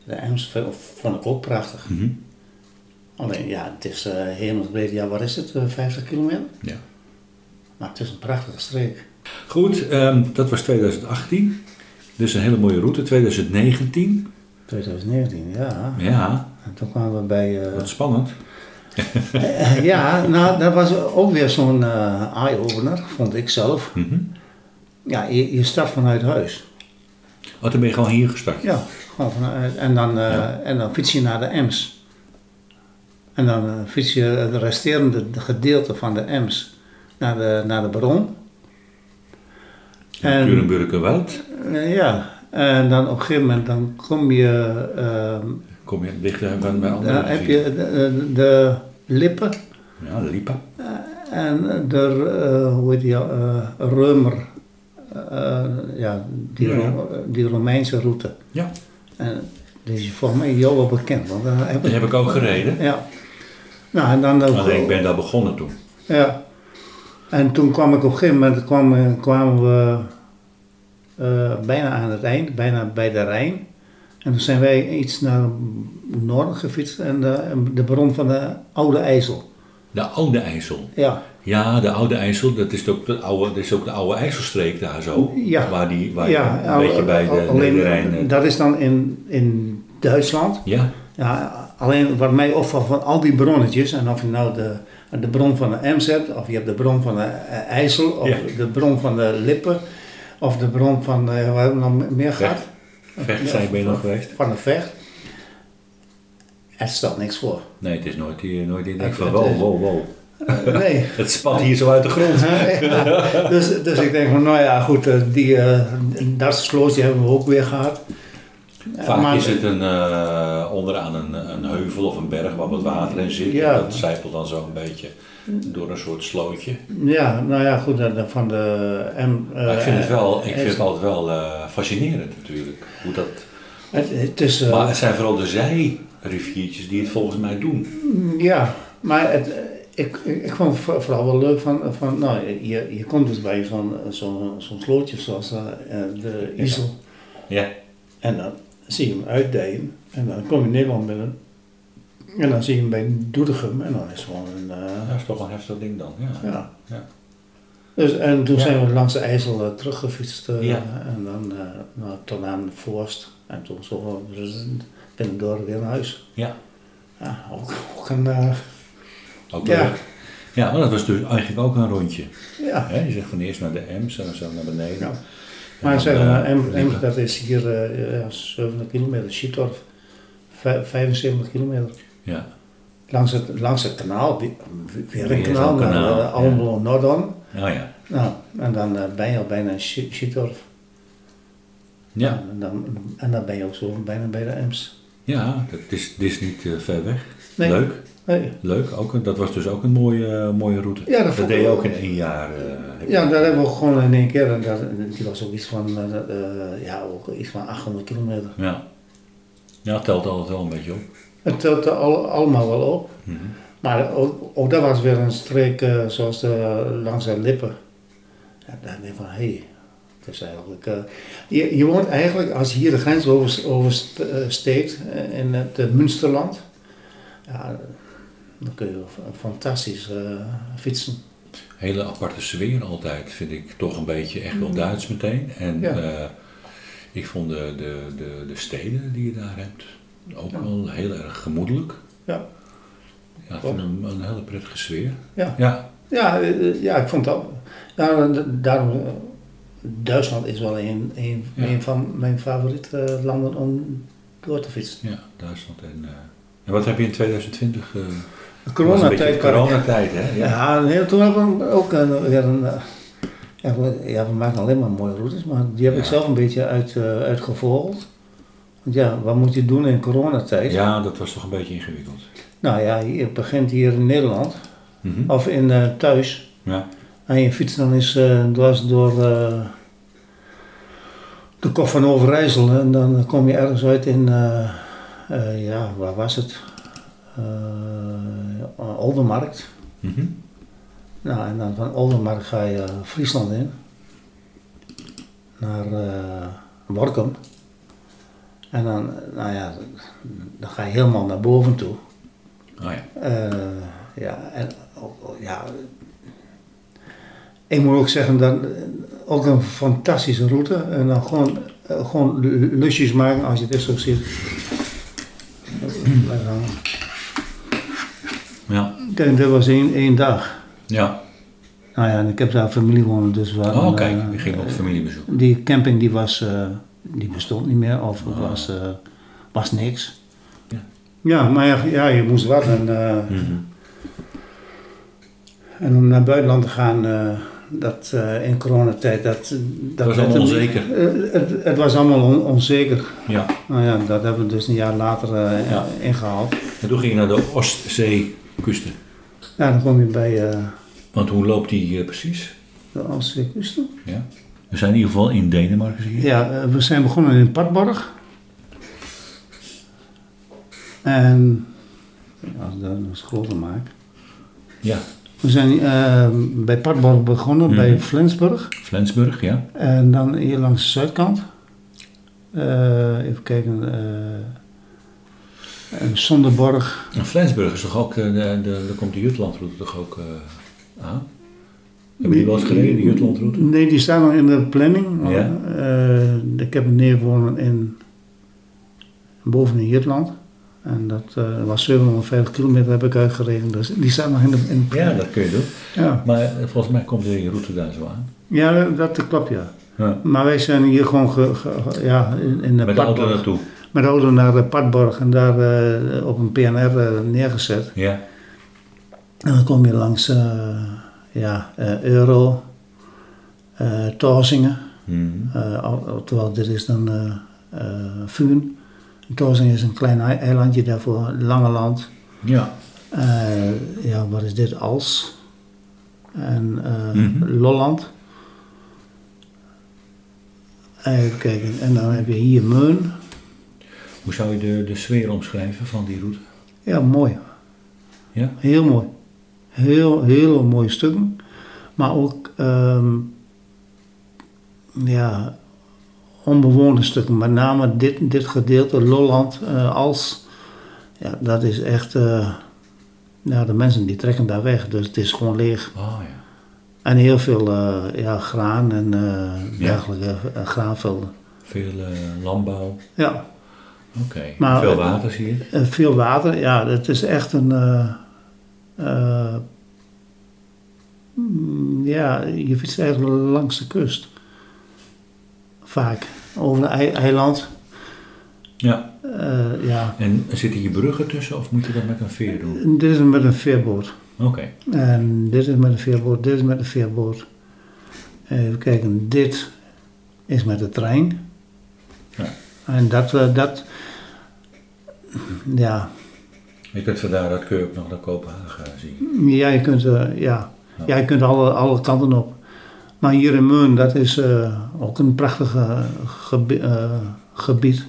Speaker 2: De Ems vond ik ook prachtig.
Speaker 1: Mhm.
Speaker 2: Alleen ja, het is eh hemelsbreed. Ja, wat is het? eh, 50 kilometer?
Speaker 1: Ja.
Speaker 2: Maar het is een prachtige streek.
Speaker 1: Goed, ehm, dat was 2018. Dus een hele mooie route. 2019.
Speaker 2: 2019, ja.
Speaker 1: Ja,
Speaker 2: En toen kwamen we bij... eh,
Speaker 1: wat spannend.
Speaker 2: ja, nou, dat was ook weer zo'n eh, eye-opener, vond ik zelf.
Speaker 1: Mhm.
Speaker 2: Ja, je, je start vanuit huis.
Speaker 1: Oh, toen ben je gewoon hier gestart.
Speaker 2: Ja, gewoon vanuit. En dan, eh, en dan fiets je naar de Ems. En dan eh, fiets je het resterende gedeelte van de Ems naar de, naar de bron.
Speaker 1: En... Turenburgerwald.
Speaker 2: eh, ja, en dan op een gegeven moment dan kom je... ehm,
Speaker 1: Kom je dichter bij bij andere
Speaker 2: dan heb
Speaker 1: rivieren.
Speaker 2: je de, eh, de- de lippen eh,
Speaker 1: Ja, de Lipa.
Speaker 2: En de, eh, hoe heet die, eh Römer, eh, ja, die,
Speaker 1: Ja, ja.
Speaker 2: Ro- die Romeinse route.
Speaker 1: Ja.
Speaker 2: En die is volgens mij jou wel bekend, want daar heb
Speaker 1: Die
Speaker 2: ik...
Speaker 1: heb ik ook gereden.
Speaker 2: Ja. Nou, en dan ook...
Speaker 1: Alleen ik ben daar begonnen toen.
Speaker 2: Ja. En toen kwam ik op een gegeven moment, kwam, eh, kwamen we eh, bijna aan het eind, bijna bij de Rijn. En toen zijn wij iets naar het noorden gefietst en de, de bron van de Oude IJssel.
Speaker 1: De Oude IJssel.
Speaker 2: Ja,
Speaker 1: Ja, de Oude IJssel, dat is ook de oude, dat is ook de oude IJsselstreek daar zo.
Speaker 2: Ja.
Speaker 1: Waar die, waar
Speaker 2: ja,
Speaker 1: een
Speaker 2: al-
Speaker 1: beetje bij de,
Speaker 2: al-
Speaker 1: de
Speaker 2: alleen,
Speaker 1: Rijn... eh,
Speaker 2: dat is dan in, in Duitsland.
Speaker 1: ja,
Speaker 2: Ja, alleen wat mij opvalt van al die bronnetjes, en of je nou de, de bron van de Ems hebt, of je hebt de bron van de eh, IJssel, of
Speaker 1: Ja.
Speaker 2: de bron van de Lippen, of de bron van, eh, waar hebben we nog meer gehad?
Speaker 1: vecht zijn ben je nog geweest.
Speaker 2: Van de Vecht. Het stelt niks voor.
Speaker 1: Nee, het is nooit, hier- nooit in. Ik
Speaker 2: Het-
Speaker 1: van,
Speaker 2: het
Speaker 1: wow,
Speaker 2: is-
Speaker 1: wow, wow.
Speaker 2: Eh, nee.
Speaker 1: Het spat hier zo uit de grond.
Speaker 2: Ja, dus, dus ik denk van, nou ja, goed, eh, die eh dartsloos die hebben we ook weer gehad. Eh,
Speaker 1: Vaak
Speaker 2: maar-
Speaker 1: is het een, eh, onderaan een, een heuvel of een berg waar wat water in zit.
Speaker 2: Ja.
Speaker 1: En dat zijpelt dan zo een beetje door een soort slootje.
Speaker 2: Ja, nou ja, goed, eh, van de... M, eh,
Speaker 1: Maar ik vind het, wel, ik
Speaker 2: eh,
Speaker 1: vind het altijd wel eh, fascinerend natuurlijk. Hoe dat,
Speaker 2: Het, het is... eh,
Speaker 1: maar het zijn vooral de zijriviertjes die het volgens mij doen.
Speaker 2: Ja, maar het, eh, ik, ik, ik vond het voor- vooral wel leuk van, van nou, je, je komt dus bij zo'n zo'n zo'n slootje zoals eh, de
Speaker 1: Ja.
Speaker 2: IJssel.
Speaker 1: Ja.
Speaker 2: En dan zie je hem uitdijen. En dan kom je in Nederland binnen. En dan zie je hem bij Doetinchem. En dan is het gewoon een... eh,
Speaker 1: Dat is toch wel een heftig ding dan. Ja.
Speaker 2: Ja.
Speaker 1: Ja.
Speaker 2: Dus, en toen
Speaker 1: Ja.
Speaker 2: zijn we langs de IJssel eh, teruggefietst eh,
Speaker 1: Ja.
Speaker 2: en dan eh, nou, tot aan de Voorst. En toen zo eh, dus binnendoor weer naar huis.
Speaker 1: Ja.
Speaker 2: Ja, ook, ook een... eh,
Speaker 1: Ook
Speaker 2: Ja.
Speaker 1: leuk. Ja, maar dat was dus eigenlijk ook een rondje.
Speaker 2: ja.
Speaker 1: Hè? Je zegt van eerst naar de Ems en dan zo naar beneden.
Speaker 2: Ja.
Speaker 1: En
Speaker 2: Maar
Speaker 1: dan,
Speaker 2: zeg
Speaker 1: eh,
Speaker 2: maar, Em-
Speaker 1: liepen.
Speaker 2: Em, dat is hier eh, ja, 70 kilometer, Schiedorf, vij- 75 kilometer.
Speaker 1: Ja.
Speaker 2: Langs het, langs het kanaal, weer, weer een
Speaker 1: Weer zo'n
Speaker 2: kanaal, naar
Speaker 1: kanaal,
Speaker 2: eh,
Speaker 1: ja.
Speaker 2: Almelo-Nordon.
Speaker 1: Oh ja.
Speaker 2: Nou, en dan eh, ben je al bijna in Schi- Schiedorf.
Speaker 1: Ja,
Speaker 2: En dan, en dan ben je ook zo bijna bij de Ems.
Speaker 1: ja dat is, dit is niet eh, ver weg.
Speaker 2: Nee.
Speaker 1: Leuk,
Speaker 2: Nee.
Speaker 1: leuk. Ook, een- dat was dus ook een mooie, eh, mooie route.
Speaker 2: Ja, dat vond ik
Speaker 1: deed je
Speaker 2: wel.
Speaker 1: ook in één jaar. eh, heb je-
Speaker 2: Ja, daar hebben we gewoon in één keer, en dat, die was ook iets van, eh, eh, ja, ook iets van 800 kilometer.
Speaker 1: ja. Ja, het telt altijd wel een beetje op.
Speaker 2: Het telt er al, allemaal wel op.
Speaker 1: Mhm.
Speaker 2: Maar ook, ook dat was weer een streek eh, zoals de, langs de lippen. Ja, daar denk ik van, hé, hey, dat is eigenlijk... eh, je, je woont eigenlijk, als je hier de grens overs- oversteekt eh, in het eh, Münsterland, ja, dan kun je wel fa- fantastisch eh, fietsen.
Speaker 1: Hele aparte sfeer altijd, vind ik toch een beetje echt wel Duits meteen. En
Speaker 2: Mhm. Ja.
Speaker 1: eh, ik vond de, de, de, de steden die je daar hebt ook
Speaker 2: Ja.
Speaker 1: wel heel erg gemoedelijk.
Speaker 2: Ja.
Speaker 1: Ja, ik vind een, een hele prettige sfeer.
Speaker 2: Ja.
Speaker 1: Ja,
Speaker 2: Ja, eh, ja ik vond dat. Ja, d- daarom, eh, Duitsland is wel een, een,
Speaker 1: Ja.
Speaker 2: een van mijn favoriete eh, landen om door te fietsen.
Speaker 1: ja Duitsland. En, eh, en wat heb je in 2020? eh,
Speaker 2: De
Speaker 1: was een
Speaker 2: coronatijd
Speaker 1: beetje
Speaker 2: kan ik-
Speaker 1: Coronatijd, hè? Ja.
Speaker 2: Ja, en heel- toen hebben we ook een, weer een. eh, Ja, we- ja, we maken alleen maar mooie routes, maar die heb ik
Speaker 1: Ja.
Speaker 2: zelf een beetje uit, eh, uitgevogeld. Want ja, wat moet je doen in coronatijd?
Speaker 1: Ja, dat was toch een beetje ingewikkeld.
Speaker 2: Nou ja, je begint hier in Nederland
Speaker 1: Mhm.
Speaker 2: of in eh, thuis.
Speaker 1: Ja.
Speaker 2: En je fiets dan eens eh, dwars door eh, de kop van Overijssel en dan kom je ergens uit in, eh, eh, ja, waar was het? Eh Oldenmarkt.
Speaker 1: Mhm.
Speaker 2: Nou, en dan van Oldenmarkt ga je eh, Friesland in. Naar eh Workum. En dan, nou ja, dan ga je helemaal naar boven toe.
Speaker 1: Oh ja.
Speaker 2: Eh, ja, en ook- ook- ja. Ik moet ook zeggen, dan, eh, ook een fantastische route. En dan gewoon, eh, gewoon lu- lusjes maken als je dit zo ziet. Maar dan-
Speaker 1: Ja.
Speaker 2: Ik denk, dat was één, één dag.
Speaker 1: ja.
Speaker 2: Nou ja, en ik heb daar familie wonen, dus we hadden,
Speaker 1: Oh, kijk,
Speaker 2: eh,
Speaker 1: we gingen op familiebezoek.
Speaker 2: die camping die was, eh, die bestond niet meer of het was, eh, was niks.
Speaker 1: Ah. Ja.
Speaker 2: Ja, maar ja, ja, je moest wat. En, eh,
Speaker 1: Mhm.
Speaker 2: En om naar het buitenland te gaan, eh, dat eh, in coronatijd, dat... dat
Speaker 1: was
Speaker 2: werd
Speaker 1: allemaal
Speaker 2: hem niet.
Speaker 1: onzeker.
Speaker 2: Eh, het, het was allemaal on- onzeker.
Speaker 1: Ja.
Speaker 2: Nou ja, dat hebben we dus een jaar later eh,
Speaker 1: Ja.
Speaker 2: ingehaald.
Speaker 1: En toen ging je naar de Oostzeekusten.
Speaker 2: Ja, dan kom je bij eh
Speaker 1: Want hoe loopt die eh, precies?
Speaker 2: de Oostzee Kusten.
Speaker 1: Ja. We zijn in ieder geval in Denemarken, zie je.
Speaker 2: Ja, eh, we zijn begonnen in Padborg. En... Als ik dat nog eens groter maak.
Speaker 1: Ja.
Speaker 2: We zijn eh, bij Padborg begonnen,
Speaker 1: Mhm.
Speaker 2: bij Flensburg.
Speaker 1: Flensburg, ja.
Speaker 2: En dan hier langs de zuidkant. Eh, even kijken. eh, en Sonderborg.
Speaker 1: En Flensburg is toch ook, eh, de, de, daar komt de Jutlandroute toch ook eh, aan? Heb je die wel eens gereden, die Jutlandroute?
Speaker 2: Nee, die staan nog in de planning. maar,
Speaker 1: Ja.
Speaker 2: eh, ik heb een neer wonen in, boven in Jutland. En dat eh, was 750 kilometer heb ik uitgerekend. Dus die staan nog in de, in de
Speaker 1: Ja,
Speaker 2: planning.
Speaker 1: dat kun je doen.
Speaker 2: Ja,
Speaker 1: Maar eh, volgens mij komt die route daar zo aan.
Speaker 2: ja. dat klopt ja.
Speaker 1: Ja.
Speaker 2: Maar wij zijn hier gewoon ge- ge- ge- ja, in, in de
Speaker 1: Met de auto
Speaker 2: Padborg.
Speaker 1: naartoe.
Speaker 2: Met de auto naar de Padborg en daar eh, op een PNR eh, neergezet.
Speaker 1: Ja.
Speaker 2: En dan kom je langs eh, ja, eh, Euro, eh Torsingen.
Speaker 1: Hmm.
Speaker 2: Eh, al- al- terwijl dit is dan eh eh, Fuun. Torsingen is een klein ei- eilandje daarvoor, Langeland.
Speaker 1: Ja.
Speaker 2: Eh, ja, wat is dit? Als. En eh,
Speaker 1: Mhm.
Speaker 2: Lolland. Even kijken. En dan heb je hier Meun.
Speaker 1: Hoe zou je de, de sfeer omschrijven van die route?
Speaker 2: Ja, mooi.
Speaker 1: Ja?
Speaker 2: Heel mooi. Heel, heel mooie stukken. Maar ook ehm, ja, onbewoonde stukken. Met name dit, dit gedeelte, Lolland, eh, als. Ja, dat is echt. eh, ja, de mensen die trekken daar weg. Dus het is gewoon leeg.
Speaker 1: Oh ja.
Speaker 2: En heel veel eh, ja, graan en eh
Speaker 1: Ja.
Speaker 2: dergelijke eh, graanvelden.
Speaker 1: Veel eh, landbouw.
Speaker 2: Ja,
Speaker 1: Oké.
Speaker 2: Maar-
Speaker 1: Veel waters hier.
Speaker 2: Eh, veel water, ja, het is echt een. eh, eh, mm, ja, je fietst eigenlijk langs de kust. Vaak. Over een ei- eiland.
Speaker 1: Ja.
Speaker 2: Eh, ja.
Speaker 1: En zitten hier bruggen tussen of moet je dat met een veer doen?
Speaker 2: Dit is met een veerboot.
Speaker 1: Oké.
Speaker 2: En dit is met een veerboot, dit is met een veerboot. Even kijken, dit is met de trein.
Speaker 1: Ja.
Speaker 2: En dat, eh, dat. Ja,
Speaker 1: Je kunt vandaar uit Keurp nog naar Kopenhagen zien.
Speaker 2: Ja, je kunt, eh, ja.
Speaker 1: Ja.
Speaker 2: Ja, je kunt alle, alle kanten op. Maar hier in Meun, dat is eh, ook een prachtig eh, gebi- eh, gebied.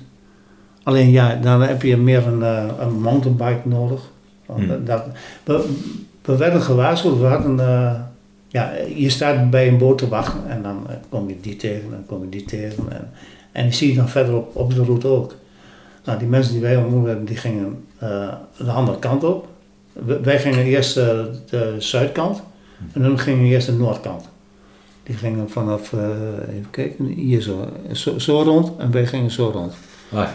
Speaker 2: Alleen ja, dan heb je meer een, eh, een mountainbike nodig. Want eh,
Speaker 1: Hmm.
Speaker 2: dat, we, we werden gewaarschuwd, we hadden... eh, ja, je staat bij een boot te wachten en dan eh, kom je die tegen en kom je die tegen. En, en die zie je dan verder op, op de route ook. Nou, die mensen die wij ontmoet hebben, die gingen eh, de andere kant op. We- wij gingen eerst eh, de zuidkant en dan gingen we eerst de noordkant. Die gingen vanaf, eh, even kijken, hier zo, zo, zo rond en wij gingen zo rond.
Speaker 1: Ah,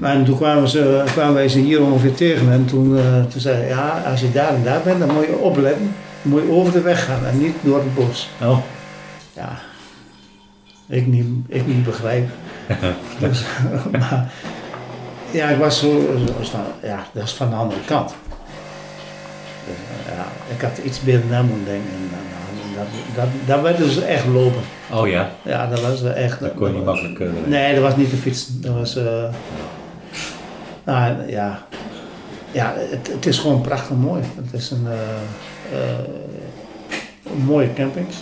Speaker 1: ja.
Speaker 2: En toen kwamen, ze, kwamen wij ze hier ongeveer tegen en toen, eh, toen zei hij, ja, als je daar en daar bent, dan moet je opletten. Dan moet je over de weg gaan en niet door het bos.
Speaker 1: Oh,
Speaker 2: Ja, ik niet, ik niet begrijp. dus, maar ja, ik was zo, zo van, ja, dat is van de andere kant. Dus, eh, ja, ik had iets beter naar moeten denken. En, eh, nou, dat, dat, dat werd dus echt lopen.
Speaker 1: oh ja,
Speaker 2: Ja, dat was wel echt...
Speaker 1: dat kon je niet
Speaker 2: was-
Speaker 1: makkelijk. eh,
Speaker 2: Nee, dat was niet de fiets. Dat was... eh, nou, ja. Ja, het, het is gewoon prachtig mooi. Het is een, eh, eh, mooie campings.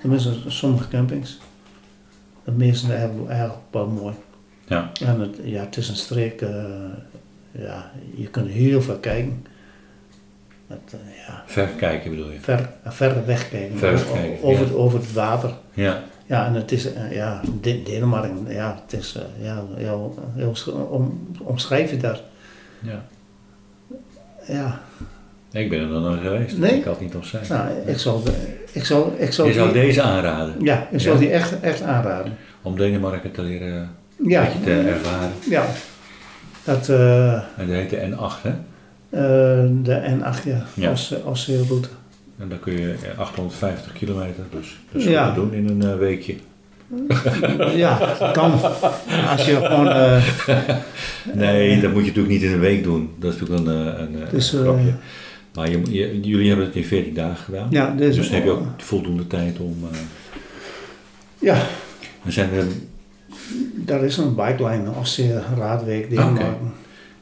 Speaker 2: Tenminste, sommige campings. De meeste zijn eigenlijk- eigenlijk wel mooi.
Speaker 1: Ja.
Speaker 2: En het, ja, het is een streek... eh, ja, je kunt heel veel kijken. Het, eh, ja,
Speaker 1: Ver kijken bedoel je?
Speaker 2: ver, ver wegkijken.
Speaker 1: Ver
Speaker 2: O-
Speaker 1: kijken,
Speaker 2: over,
Speaker 1: ja.
Speaker 2: het- over het water.
Speaker 1: Ja.
Speaker 2: Ja, en het is, eh, ja, De- Denemarken, ja, het is, eh, ja, heel, heel sch- om, omschrijf je daar.
Speaker 1: ja.
Speaker 2: Ja,
Speaker 1: Ik ben er nog nooit geweest.
Speaker 2: Nee?
Speaker 1: Ik had niet op zijn.
Speaker 2: nou, ik zal, de- ik zal, ik zal
Speaker 1: je zou
Speaker 2: die-
Speaker 1: deze aanraden
Speaker 2: ja, ik zal
Speaker 1: Ja.
Speaker 2: die echt, echt aanraden.
Speaker 1: om Denemarken te leren
Speaker 2: Ja,
Speaker 1: een beetje te ervaren.
Speaker 2: ja. Dat, eh,
Speaker 1: En dat heet de N8, hè?
Speaker 2: eh, de N8, ja,
Speaker 1: Ja.
Speaker 2: als, als zeeroute.
Speaker 1: En dan kun je eh, 850 kilometer, dus dat is
Speaker 2: Ja.
Speaker 1: goed te doen in een eh, weekje.
Speaker 2: Ja, kan. Als je gewoon, eh,
Speaker 1: Nee, dat moet je natuurlijk niet in een week doen. Dat is natuurlijk een, eh, een, eh,
Speaker 2: Dus,
Speaker 1: een
Speaker 2: eh,
Speaker 1: grapje. Maar je, je- jullie hebben het in 14 dagen gedaan.
Speaker 2: ja,
Speaker 1: Dus,
Speaker 2: dus,
Speaker 1: dan heb je ook voldoende tijd om. eh
Speaker 2: Ja,
Speaker 1: er zijn er,
Speaker 2: daar is een bikeline, Afzee Raadweek, Denemarken.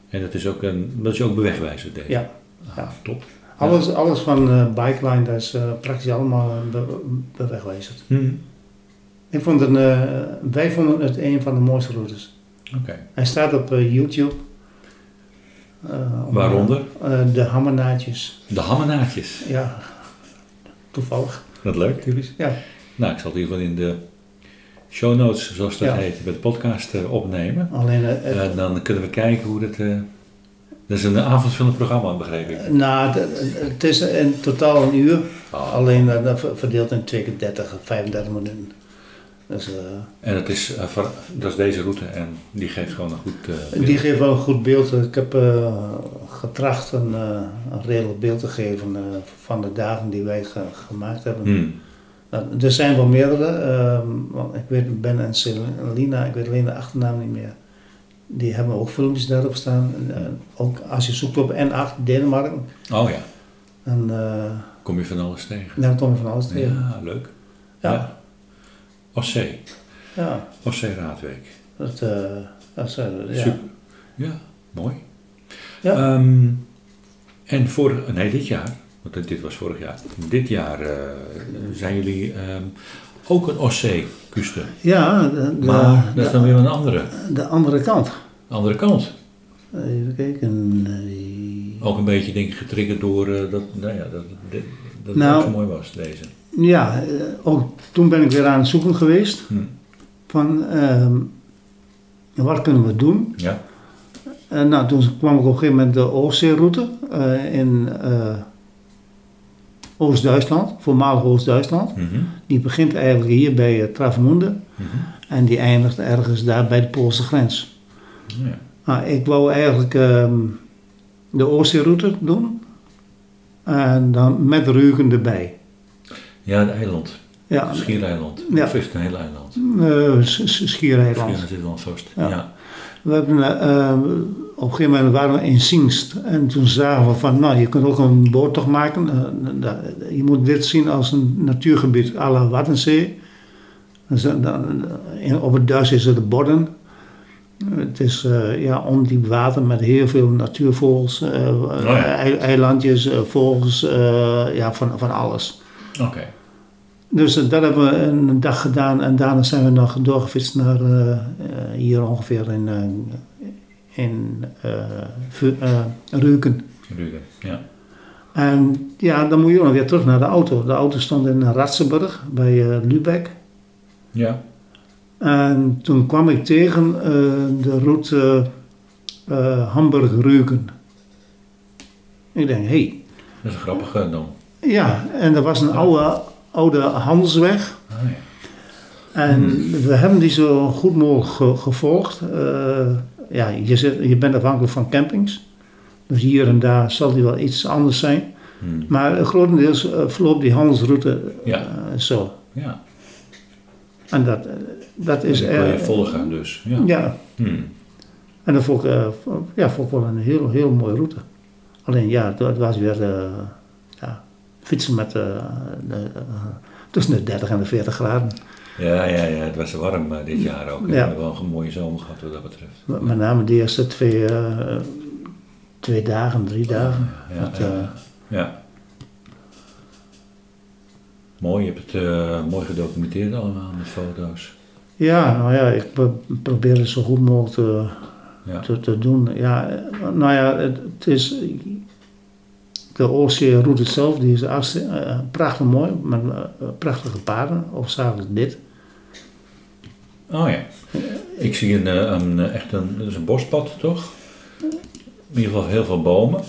Speaker 1: en dat is ook een, dat is ook bewegwijzer deze.
Speaker 2: Ja,
Speaker 1: Ah,
Speaker 2: ja.
Speaker 1: top.
Speaker 2: Alles, alles van eh, Bikeline, dat is eh, praktisch allemaal eh, be- bewegwijzerd.
Speaker 1: Hm,
Speaker 2: Ik vond het, een, eh, wij vonden het een van de mooiste routes.
Speaker 1: Oké.
Speaker 2: Hij staat op eh, YouTube. Eh, om-
Speaker 1: Waaronder?
Speaker 2: eh, de hammernaadjes.
Speaker 1: De hammenaadjes.
Speaker 2: Ja, toevallig.
Speaker 1: Dat leuk, jullie.
Speaker 2: Ja.
Speaker 1: Nou, ik zal het in ieder geval in de show notes, zoals dat
Speaker 2: Ja.
Speaker 1: heet, bij de podcast eh, opnemen.
Speaker 2: Alleen, eh, het-
Speaker 1: En dan kunnen we kijken hoe dat... eh, dat is een avondvullend programma, begreep ik.
Speaker 2: nou, het- het- het is in totaal een uur.
Speaker 1: Oh.
Speaker 2: Alleen eh, dat ver- verdeeld in 32, 35 minuten. Dus, eh,
Speaker 1: En het is, eh, voor- dat is deze route en die geeft gewoon een goed eh, beeld.
Speaker 2: Die geeft wel een goed beeld. Ik heb eh, getracht een, eh, een redelijk beeld te geven eh, van de dagen die wij ge- gemaakt hebben.
Speaker 1: Hmm.
Speaker 2: Nou, er zijn wel meerdere, ehm, want ik weet Ben en Selina, ik weet alleen de achternaam niet meer. Die hebben ook filmpjes daarop staan. En, eh, ook als je zoekt op N8 Denemarken,
Speaker 1: Oh ja,
Speaker 2: dan, eh,
Speaker 1: kom je van alles tegen.
Speaker 2: dan kom je van alles tegen. Ja.
Speaker 1: Ja, leuk.
Speaker 2: Ja.
Speaker 1: OC, OC Raadweek.
Speaker 2: dat, eh, dat is, eh, ja.
Speaker 1: Super. Ja, mooi.
Speaker 2: Ja.
Speaker 1: Ehm, en vorig, nee, dit jaar, want dit- dit was vorig jaar. Dit jaar eh, zijn jullie ehm, ook een OC-kusten.
Speaker 2: Ja, de, de-
Speaker 1: Maar dat is
Speaker 2: de,
Speaker 1: dan weer een andere,
Speaker 2: de andere kant.
Speaker 1: andere kant.
Speaker 2: Even kijken. eh,
Speaker 1: Ook een beetje denk ik getriggerd door eh, dat, nou ja, dat, dit- dat het
Speaker 2: Nou.
Speaker 1: ook zo mooi was, deze.
Speaker 2: Ja, eh, ook toen ben ik weer aan het zoeken geweest.
Speaker 1: Hm.
Speaker 2: Van ehm, wat kunnen we doen?
Speaker 1: Ja.
Speaker 2: En nou, toen kwam ik op een gegeven moment de Oostzeeroute eh, in eh, Oost-Duitsland, voormalig Oost-Duitsland.
Speaker 1: Mhm.
Speaker 2: Die begint eigenlijk hier bij eh, Travemünde
Speaker 1: Mhm.
Speaker 2: en die eindigt ergens daar bij de Poolse grens.
Speaker 1: ja.
Speaker 2: Nou, ik wou eigenlijk ehm, de Oostzeeroute doen en dan met Rügen erbij.
Speaker 1: Ja, het eiland.
Speaker 2: Ja,
Speaker 1: Schiereiland.
Speaker 2: Ah. Ja.
Speaker 1: Of is het een heel eiland?
Speaker 2: eh, S- S- Schiereiland.
Speaker 1: Schiereiland zit wel vast.
Speaker 2: Ja.
Speaker 1: Ja.
Speaker 2: We hebben, eh, eh, op een gegeven moment waren we in Singst en toen zagen we van, nou je kunt ook een boottocht maken. Eh, da- je moet dit zien als een natuurgebied à la Waddenzee. Dus dan- dan- in- op het Duits is het de Bodden. Het is eh, ja, ondiep water met heel veel natuurvogels, eh,
Speaker 1: ja.
Speaker 2: ei- eilandjes, eh, vogels, eh, ja, van, van alles.
Speaker 1: Oké.
Speaker 2: Dus eh, dat hebben we een dag gedaan en daarna zijn we nog doorgefietst naar eh, eh, hier ongeveer in, eh, in eh, Vu- eh, Reuken.
Speaker 1: Rugen. Ja.
Speaker 2: En ja, dan moet je ook nog weer terug naar de auto. De auto stond in Ratsenburg bij eh, Lübeck.
Speaker 1: Ja.
Speaker 2: En toen kwam ik tegen eh, de route eh Hamburg-Reuken. Ik denk, hé, hey.
Speaker 1: Dat is een grappige dan.
Speaker 2: ja, en er was een oude, oude handelsweg.
Speaker 1: Ah, ja.
Speaker 2: En
Speaker 1: Hmm.
Speaker 2: we hebben die zo goed mogelijk ge- gevolgd. Eh, ja, je, zit, je bent afhankelijk van campings. Dus hier en daar zal die wel iets anders zijn.
Speaker 1: Hmm.
Speaker 2: Maar grotendeels eh, verloopt die handelsroute eh,
Speaker 1: Ja.
Speaker 2: zo.
Speaker 1: Ja.
Speaker 2: En dat, eh, dat is...
Speaker 1: Dus dan kon je
Speaker 2: eh,
Speaker 1: volgen dus. Ja.
Speaker 2: ja,
Speaker 1: Hmm.
Speaker 2: en dat vond ik, eh, vo- ja, vond ik wel een heel, heel mooie route. Alleen ja, het was weer eh, ja, fietsen met eh, de- eh, tussen de 30 en de 40 graden.
Speaker 1: Ja, ja, ja, het was warm eh, dit jaar ook. hè.
Speaker 2: Ja.
Speaker 1: We hebben wel een mooie zomer gehad wat dat betreft.
Speaker 2: Met met name de eerste twee, eh, twee dagen, drie dagen.
Speaker 1: Ja,
Speaker 2: Dat,
Speaker 1: ja,
Speaker 2: eh,
Speaker 1: ja. Ja. Mooi, je hebt het eh, mooi gedocumenteerd allemaal met foto's.
Speaker 2: Ja, nou ja, ik pro- probeer het zo goed mogelijk te,
Speaker 1: Ja.
Speaker 2: te, te doen. Ja, eh, nou ja, het, het is... De Oostzeeroute zelf, die is hartst- eh, prachtig mooi, met eh, prachtige paarden, hoofdzakelijk dit.
Speaker 1: Oh ja. Ik zie een, eh, een, eh, echt een, dat is een bospad toch? In ieder geval heel veel bomen.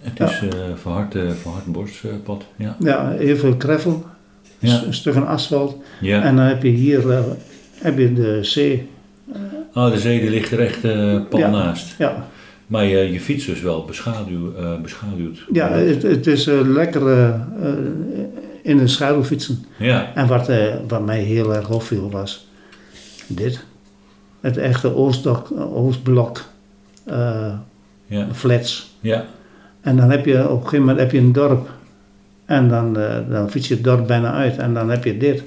Speaker 1: Het
Speaker 2: Ja.
Speaker 1: is eh verhard, eh, verhard bospad. Ja.
Speaker 2: Ja, heel veel kreffel,
Speaker 1: Ja.
Speaker 2: een stuk van asfalt.
Speaker 1: ja.
Speaker 2: En dan heb je hier eh, heb je de zee.
Speaker 1: Oh, de zee die ligt er echt eh pal
Speaker 2: Ja.
Speaker 1: naast.
Speaker 2: Ja,
Speaker 1: Maar je, je fiets dus wel beschaduw, eh, beschaduwd.
Speaker 2: ja het, het is eh, lekker eh, eh, in de schaduw fietsen.
Speaker 1: Ja,
Speaker 2: En wat, eh, wat mij heel erg opviel was dit. Het echte Oostdok, Oostblok eh,
Speaker 1: ja,
Speaker 2: flats.
Speaker 1: ja.
Speaker 2: En dan heb je op een gegeven moment heb je een dorp. En dan, eh, dan fiets je het dorp bijna uit. En dan heb je dit.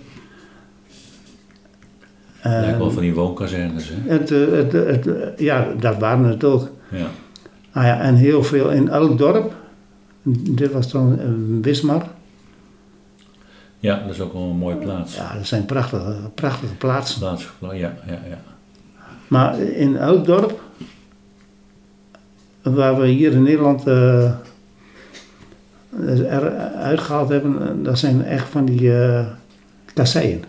Speaker 2: En
Speaker 1: Lijkt wel van die woonkazernes, hè?
Speaker 2: het, eh, het, het, eh, ja, dat waren het ook.
Speaker 1: Ja.
Speaker 2: Ah ja, en heel veel in elk dorp. Dit was dan eh, Wismar.
Speaker 1: ja, dat is ook wel een mooie plaats.
Speaker 2: Ja, dat zijn prachtige, prachtige plaatsen.
Speaker 1: Plaats, ja, ja, ja.
Speaker 2: Maar in elk dorp, waar we hier in Nederland eh eruit gehaald hebben, eh, dat zijn echt van die eh kasseien.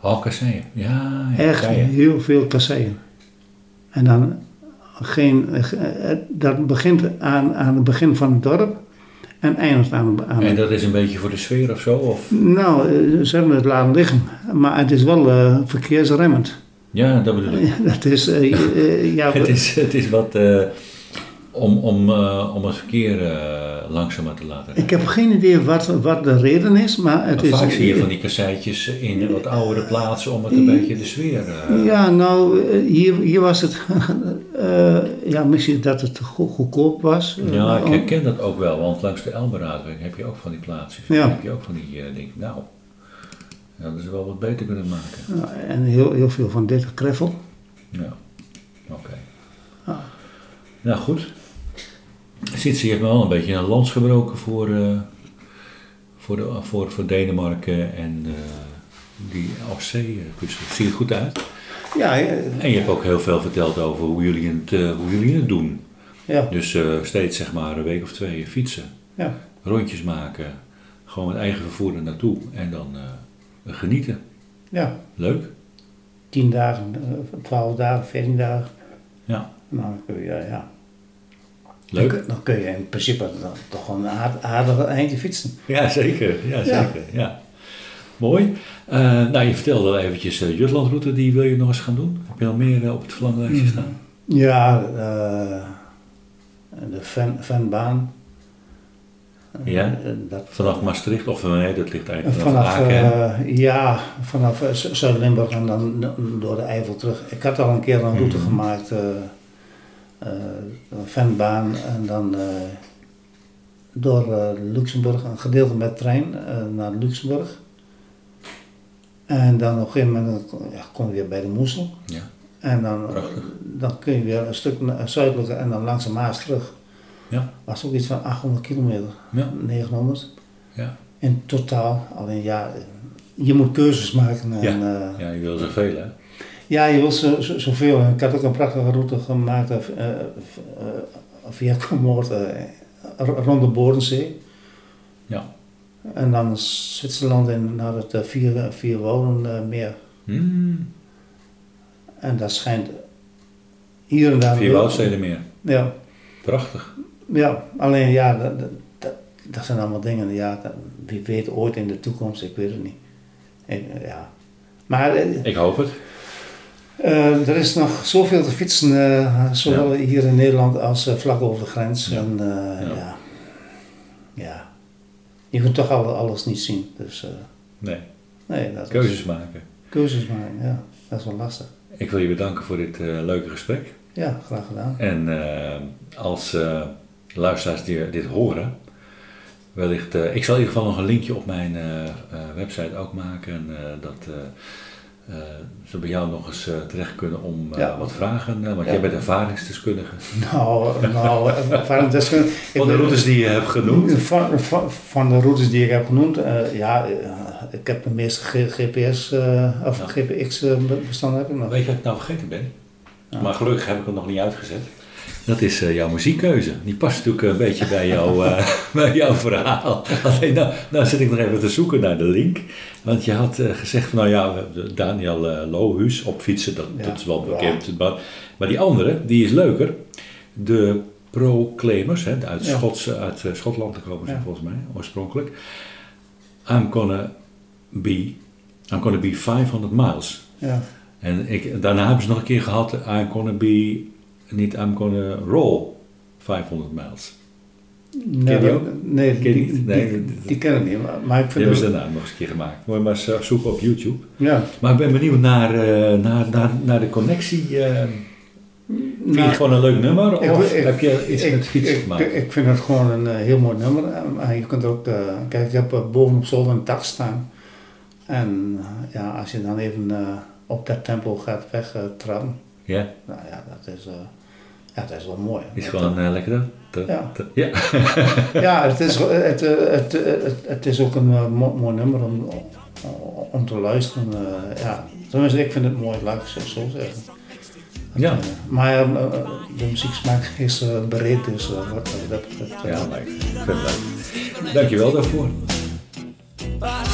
Speaker 1: Oh, kasseien. Ja, ja.
Speaker 2: echt
Speaker 1: kasseien.
Speaker 2: heel veel kasseien. En eh, dan geen, eh, dat begint aan, aan het begin van het dorp. en eindigt aan, aan
Speaker 1: En dat is een beetje voor de sfeer of zo? Of?
Speaker 2: Nou, eh, ze hebben het laten liggen, maar het is wel eh, verkeersremmend.
Speaker 1: Ja, dat bedoel ik.
Speaker 2: Ja, dat is, eh, eh, ja,
Speaker 1: Het is, het is wat eh, om, om, eh, om het verkeer eh, langzamer te laten
Speaker 2: ik heb geen idee wat, wat de reden is, maar het
Speaker 1: Maar
Speaker 2: is...
Speaker 1: vaak zie je van die kasseitjes in wat oudere plaatsen om
Speaker 2: Mm.
Speaker 1: het een beetje de sfeer. eh,
Speaker 2: Ja, nou, eh, hier, hier was het... eh, ja, misschien dat het go- goedkoop was. eh,
Speaker 1: ja, ik
Speaker 2: om-
Speaker 1: herken dat ook wel, want langs de Elberaadweg heb je ook van die plaatsjes.
Speaker 2: Ja.
Speaker 1: Dan heb je ook van die, eh denk nou, dat hadden ze wel wat beter kunnen maken.
Speaker 2: Ja, eh, en heel, heel veel van dit kreffel.
Speaker 1: Ja, oké.
Speaker 2: Ja.
Speaker 1: Nou goed. Sitsi heeft me wel een beetje een lans gebroken voor, eh, voor, de, voor, voor Denemarken en eh, die eh, AFC-kunsten. Ziet er goed uit.
Speaker 2: Ja, eh,
Speaker 1: En je hebt ook heel veel verteld over hoe jullie het, eh, hoe jullie het doen.
Speaker 2: ja,
Speaker 1: Dus eh, steeds zeg maar een week of twee fietsen,
Speaker 2: ja.
Speaker 1: rondjes maken, gewoon met eigen vervoer er naartoe en dan eh, genieten.
Speaker 2: ja.
Speaker 1: Leuk.
Speaker 2: Tien dagen, eh, twaalf dagen, veertien dagen.
Speaker 1: Ja,
Speaker 2: Nou, dan kun je, ja. Dan
Speaker 1: leuk.
Speaker 2: kun, dan kun je in principe dan toch wel een aard- aardig eindje fietsen.
Speaker 1: eh, Ja, zeker. Ja,
Speaker 2: Ja.
Speaker 1: zeker. Ja. Mooi. Eh, nou, je vertelde al eventjes de Jutlandroute, die wil je nog eens gaan doen. Heb je al meer eh, op het verlanglijstje staan?
Speaker 2: Ja, eh, de fan, fanbaan.
Speaker 1: Ja.
Speaker 2: Eh, dat,
Speaker 1: Vanaf Maastricht, of eh, nee, dat ligt eigenlijk vanaf,
Speaker 2: vanaf,
Speaker 1: Aken. hè?
Speaker 2: eh, ja, vanaf eh, Zu- Zuid-Limburg en dan door de Eifel terug. Ik had al een keer een route
Speaker 1: Mhm.
Speaker 2: gemaakt, eh eh, een fanbaan en dan eh, door eh, Luxemburg, een gedeelte met trein eh, naar Luxemburg. En dan op een gegeven moment eh, ja, kom je weer bij de Moesel.
Speaker 1: Ja,
Speaker 2: En dan, eh,
Speaker 1: Prachtig.
Speaker 2: dan kun je weer een stuk na- zuidelijker en dan langs de Maas terug.
Speaker 1: Ja.
Speaker 2: Was ook iets van 800 kilometer,
Speaker 1: ja,
Speaker 2: 900
Speaker 1: ja.
Speaker 2: in totaal. Alleen ja, je moet keuzes maken. En, eh,
Speaker 1: ja je wil zoveel hè?
Speaker 2: ja, je wilt zo- zo- zoveel. En Ik had ook een prachtige route gemaakt eh, v- eh, v- eh, via Comoort eh, r- rond de Bodensee.
Speaker 1: Ja.
Speaker 2: En dan Zwitserland in, naar het eh, vier, vier meer.
Speaker 1: Hmm.
Speaker 2: En dat schijnt hier en daar...
Speaker 1: Vier woudsteden meer.
Speaker 2: Ja.
Speaker 1: Prachtig.
Speaker 2: Ja, alleen ja, dat, dat- dat, dat zijn allemaal dingen. Ja, dat- wie weet ooit in de toekomst, ik weet het niet. En, eh, ja. Maar eh,
Speaker 1: Ik hoop het.
Speaker 2: eh, er is nog zoveel te fietsen, eh, zowel hier in Nederland als eh, vlak over de grens.
Speaker 1: Ja.
Speaker 2: En, eh,
Speaker 1: Ja.
Speaker 2: ja. Ja. Je kunt toch al- alles niet zien. Dus eh,
Speaker 1: Nee,
Speaker 2: nee, dat is,
Speaker 1: keuzes maken.
Speaker 2: keuzes maken, ja. Dat is wel lastig.
Speaker 1: Ik wil je bedanken voor dit eh, leuke gesprek.
Speaker 2: Ja, graag gedaan.
Speaker 1: En eh, als eh, luisteraars die eh, dit horen, wellicht. eh, ik zal in ieder geval nog een linkje op mijn eh, eh, website ook maken. En, eh, dat eh, eh, ze bij jou nog eens eh, terecht kunnen om eh,
Speaker 2: Ja.
Speaker 1: wat vragen. eh, want
Speaker 2: Ja.
Speaker 1: jij bent ervaringsdeskundige.
Speaker 2: Nou, nou, waarom deskundig?
Speaker 1: Van de routes die je hebt genoemd.
Speaker 2: Eh, Van, van, van de routes die ik heb genoemd, eh, ja, eh, ik heb de meeste G- GPS eh, of
Speaker 1: Ja.
Speaker 2: GPX-bestanden heb ik nog.
Speaker 1: Weet je wat ik nou vergeten ben?
Speaker 2: Ja.
Speaker 1: Maar gelukkig heb ik het nog niet uitgezet. Dat is eh, jouw muziekkeuze. Die past natuurlijk eh, een beetje bij, jou, eh, bij jouw verhaal. Alleen nou, nou zit ik nog even te zoeken naar de link. Want je had eh, gezegd van nou ja, we hebben Daniel eh, Lohuus op fietsen, dat,
Speaker 2: Ja.
Speaker 1: dat is wel bekend. Maar, maar die andere, die is leuker. De Proclaimers, hè, uit,
Speaker 2: Ja.
Speaker 1: Schots, uit eh, Schotland komen ze
Speaker 2: Ja.
Speaker 1: volgens mij oorspronkelijk. I'm gonna be, I'm gonna be 500 miles.
Speaker 2: Ja.
Speaker 1: En ik, daarna hebben ze nog een keer gehad, I'm gonna be, niet I'm gonna roll 500 miles.
Speaker 2: Nee,
Speaker 1: die ook?
Speaker 2: Nee,
Speaker 1: Ken je
Speaker 2: die,
Speaker 1: niet?
Speaker 2: die,
Speaker 1: Nee,
Speaker 2: die,
Speaker 1: dat-
Speaker 2: ken ik niet, maar, maar ik
Speaker 1: Die
Speaker 2: vind
Speaker 1: hebben ze
Speaker 2: dat-
Speaker 1: daarna nog eens een keer gemaakt. Moet je maar eens eh, zoeken op YouTube.
Speaker 2: Ja.
Speaker 1: Maar ik ben benieuwd naar, eh, naar, naar, naar de connectie. eh, vind je
Speaker 2: Nou,
Speaker 1: het gewoon een leuk nummer?
Speaker 2: ik-
Speaker 1: Of
Speaker 2: ik-
Speaker 1: heb je iets met fietsen
Speaker 2: ik,
Speaker 1: gemaakt?
Speaker 2: ik, ik vind het gewoon een eh, heel mooi nummer. En, eh, je kunt er ook, eh, kijk, je hebt eh, bovenop zolder een tak staan. En eh, ja, als je dan even eh, op dat tempo gaat wegtrappen,
Speaker 1: ja,
Speaker 2: nou ja, dat is, eh, ja, dat is wel mooi.
Speaker 1: is gewoon eh, lekker dan. Dat-
Speaker 2: Ja.
Speaker 1: dat- ja.
Speaker 2: Ja, het is, het, eh, het, eh, het, het is ook een eh, mo- mooi nummer om, om te luisteren. eh, ja. Tenminste, ik vind het mooi, laat ik het zo zeggen.
Speaker 1: Ja.
Speaker 2: Eh, maar eh, de muzieksmaak is eh, breed, dus eh, wat dat betreft. eh,
Speaker 1: ja, leuk. Ik vind het leuk. Dankjewel daarvoor.
Speaker 4: But I would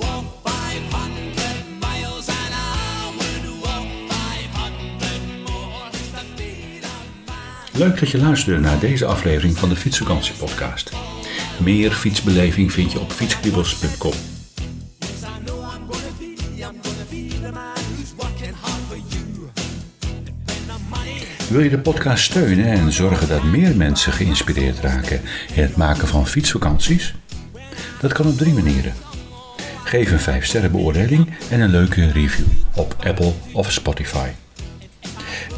Speaker 4: walk 500 miles and I would walk 500 more just to be the man.
Speaker 1: Leuk dat je luisterde naar deze aflevering van de Fietsvakantie Podcast.
Speaker 5: Meer fietsbeleving vind je op fietskriebels.com.
Speaker 1: Yes, I know I'm gonna be, I'm gonna be the man who's working hard for you. Depend on money.
Speaker 5: Wil je de podcast steunen en zorgen dat meer mensen geïnspireerd raken in het maken van fietsvakanties? Dat kan op drie manieren. Geef een 5 sterren beoordeling en een leuke review op Apple of Spotify.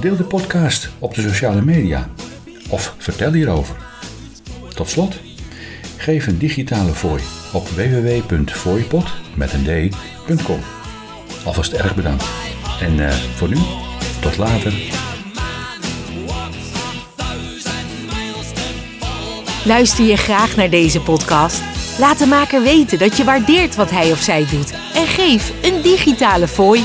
Speaker 5: Deel de podcast op de sociale media of vertel hierover. Tot slot, geef een digitale fooi op www.fooipot.com. Alvast erg bedankt. En eh, voor nu, tot later.
Speaker 6: Luister je graag naar deze podcast? Laat de maker weten dat je waardeert wat hij of zij doet en geef een digitale fooi.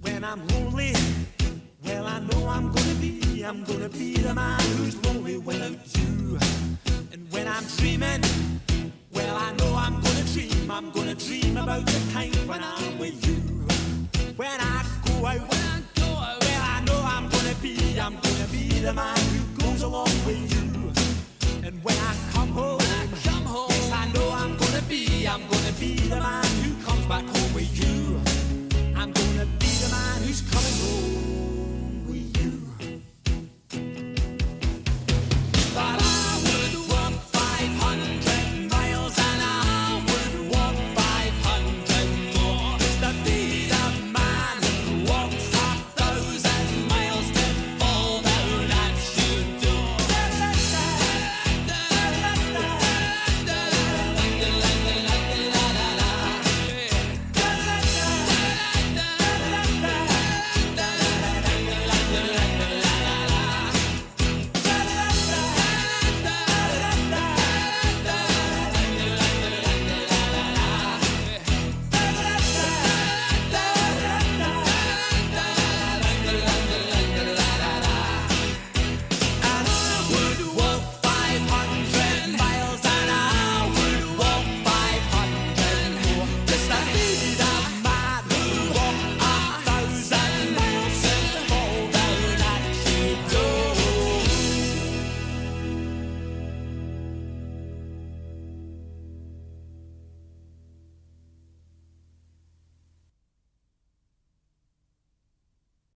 Speaker 1: When I'm lonely, well I know I'm gonna be, I'm gonna be the man who's lonely without you. And when I'm dreaming, well I know I'm gonna dream, I'm gonna dream about the time when I'm with you. When I go out, when I go out, well I know I'm gonna be, I'm gonna be the man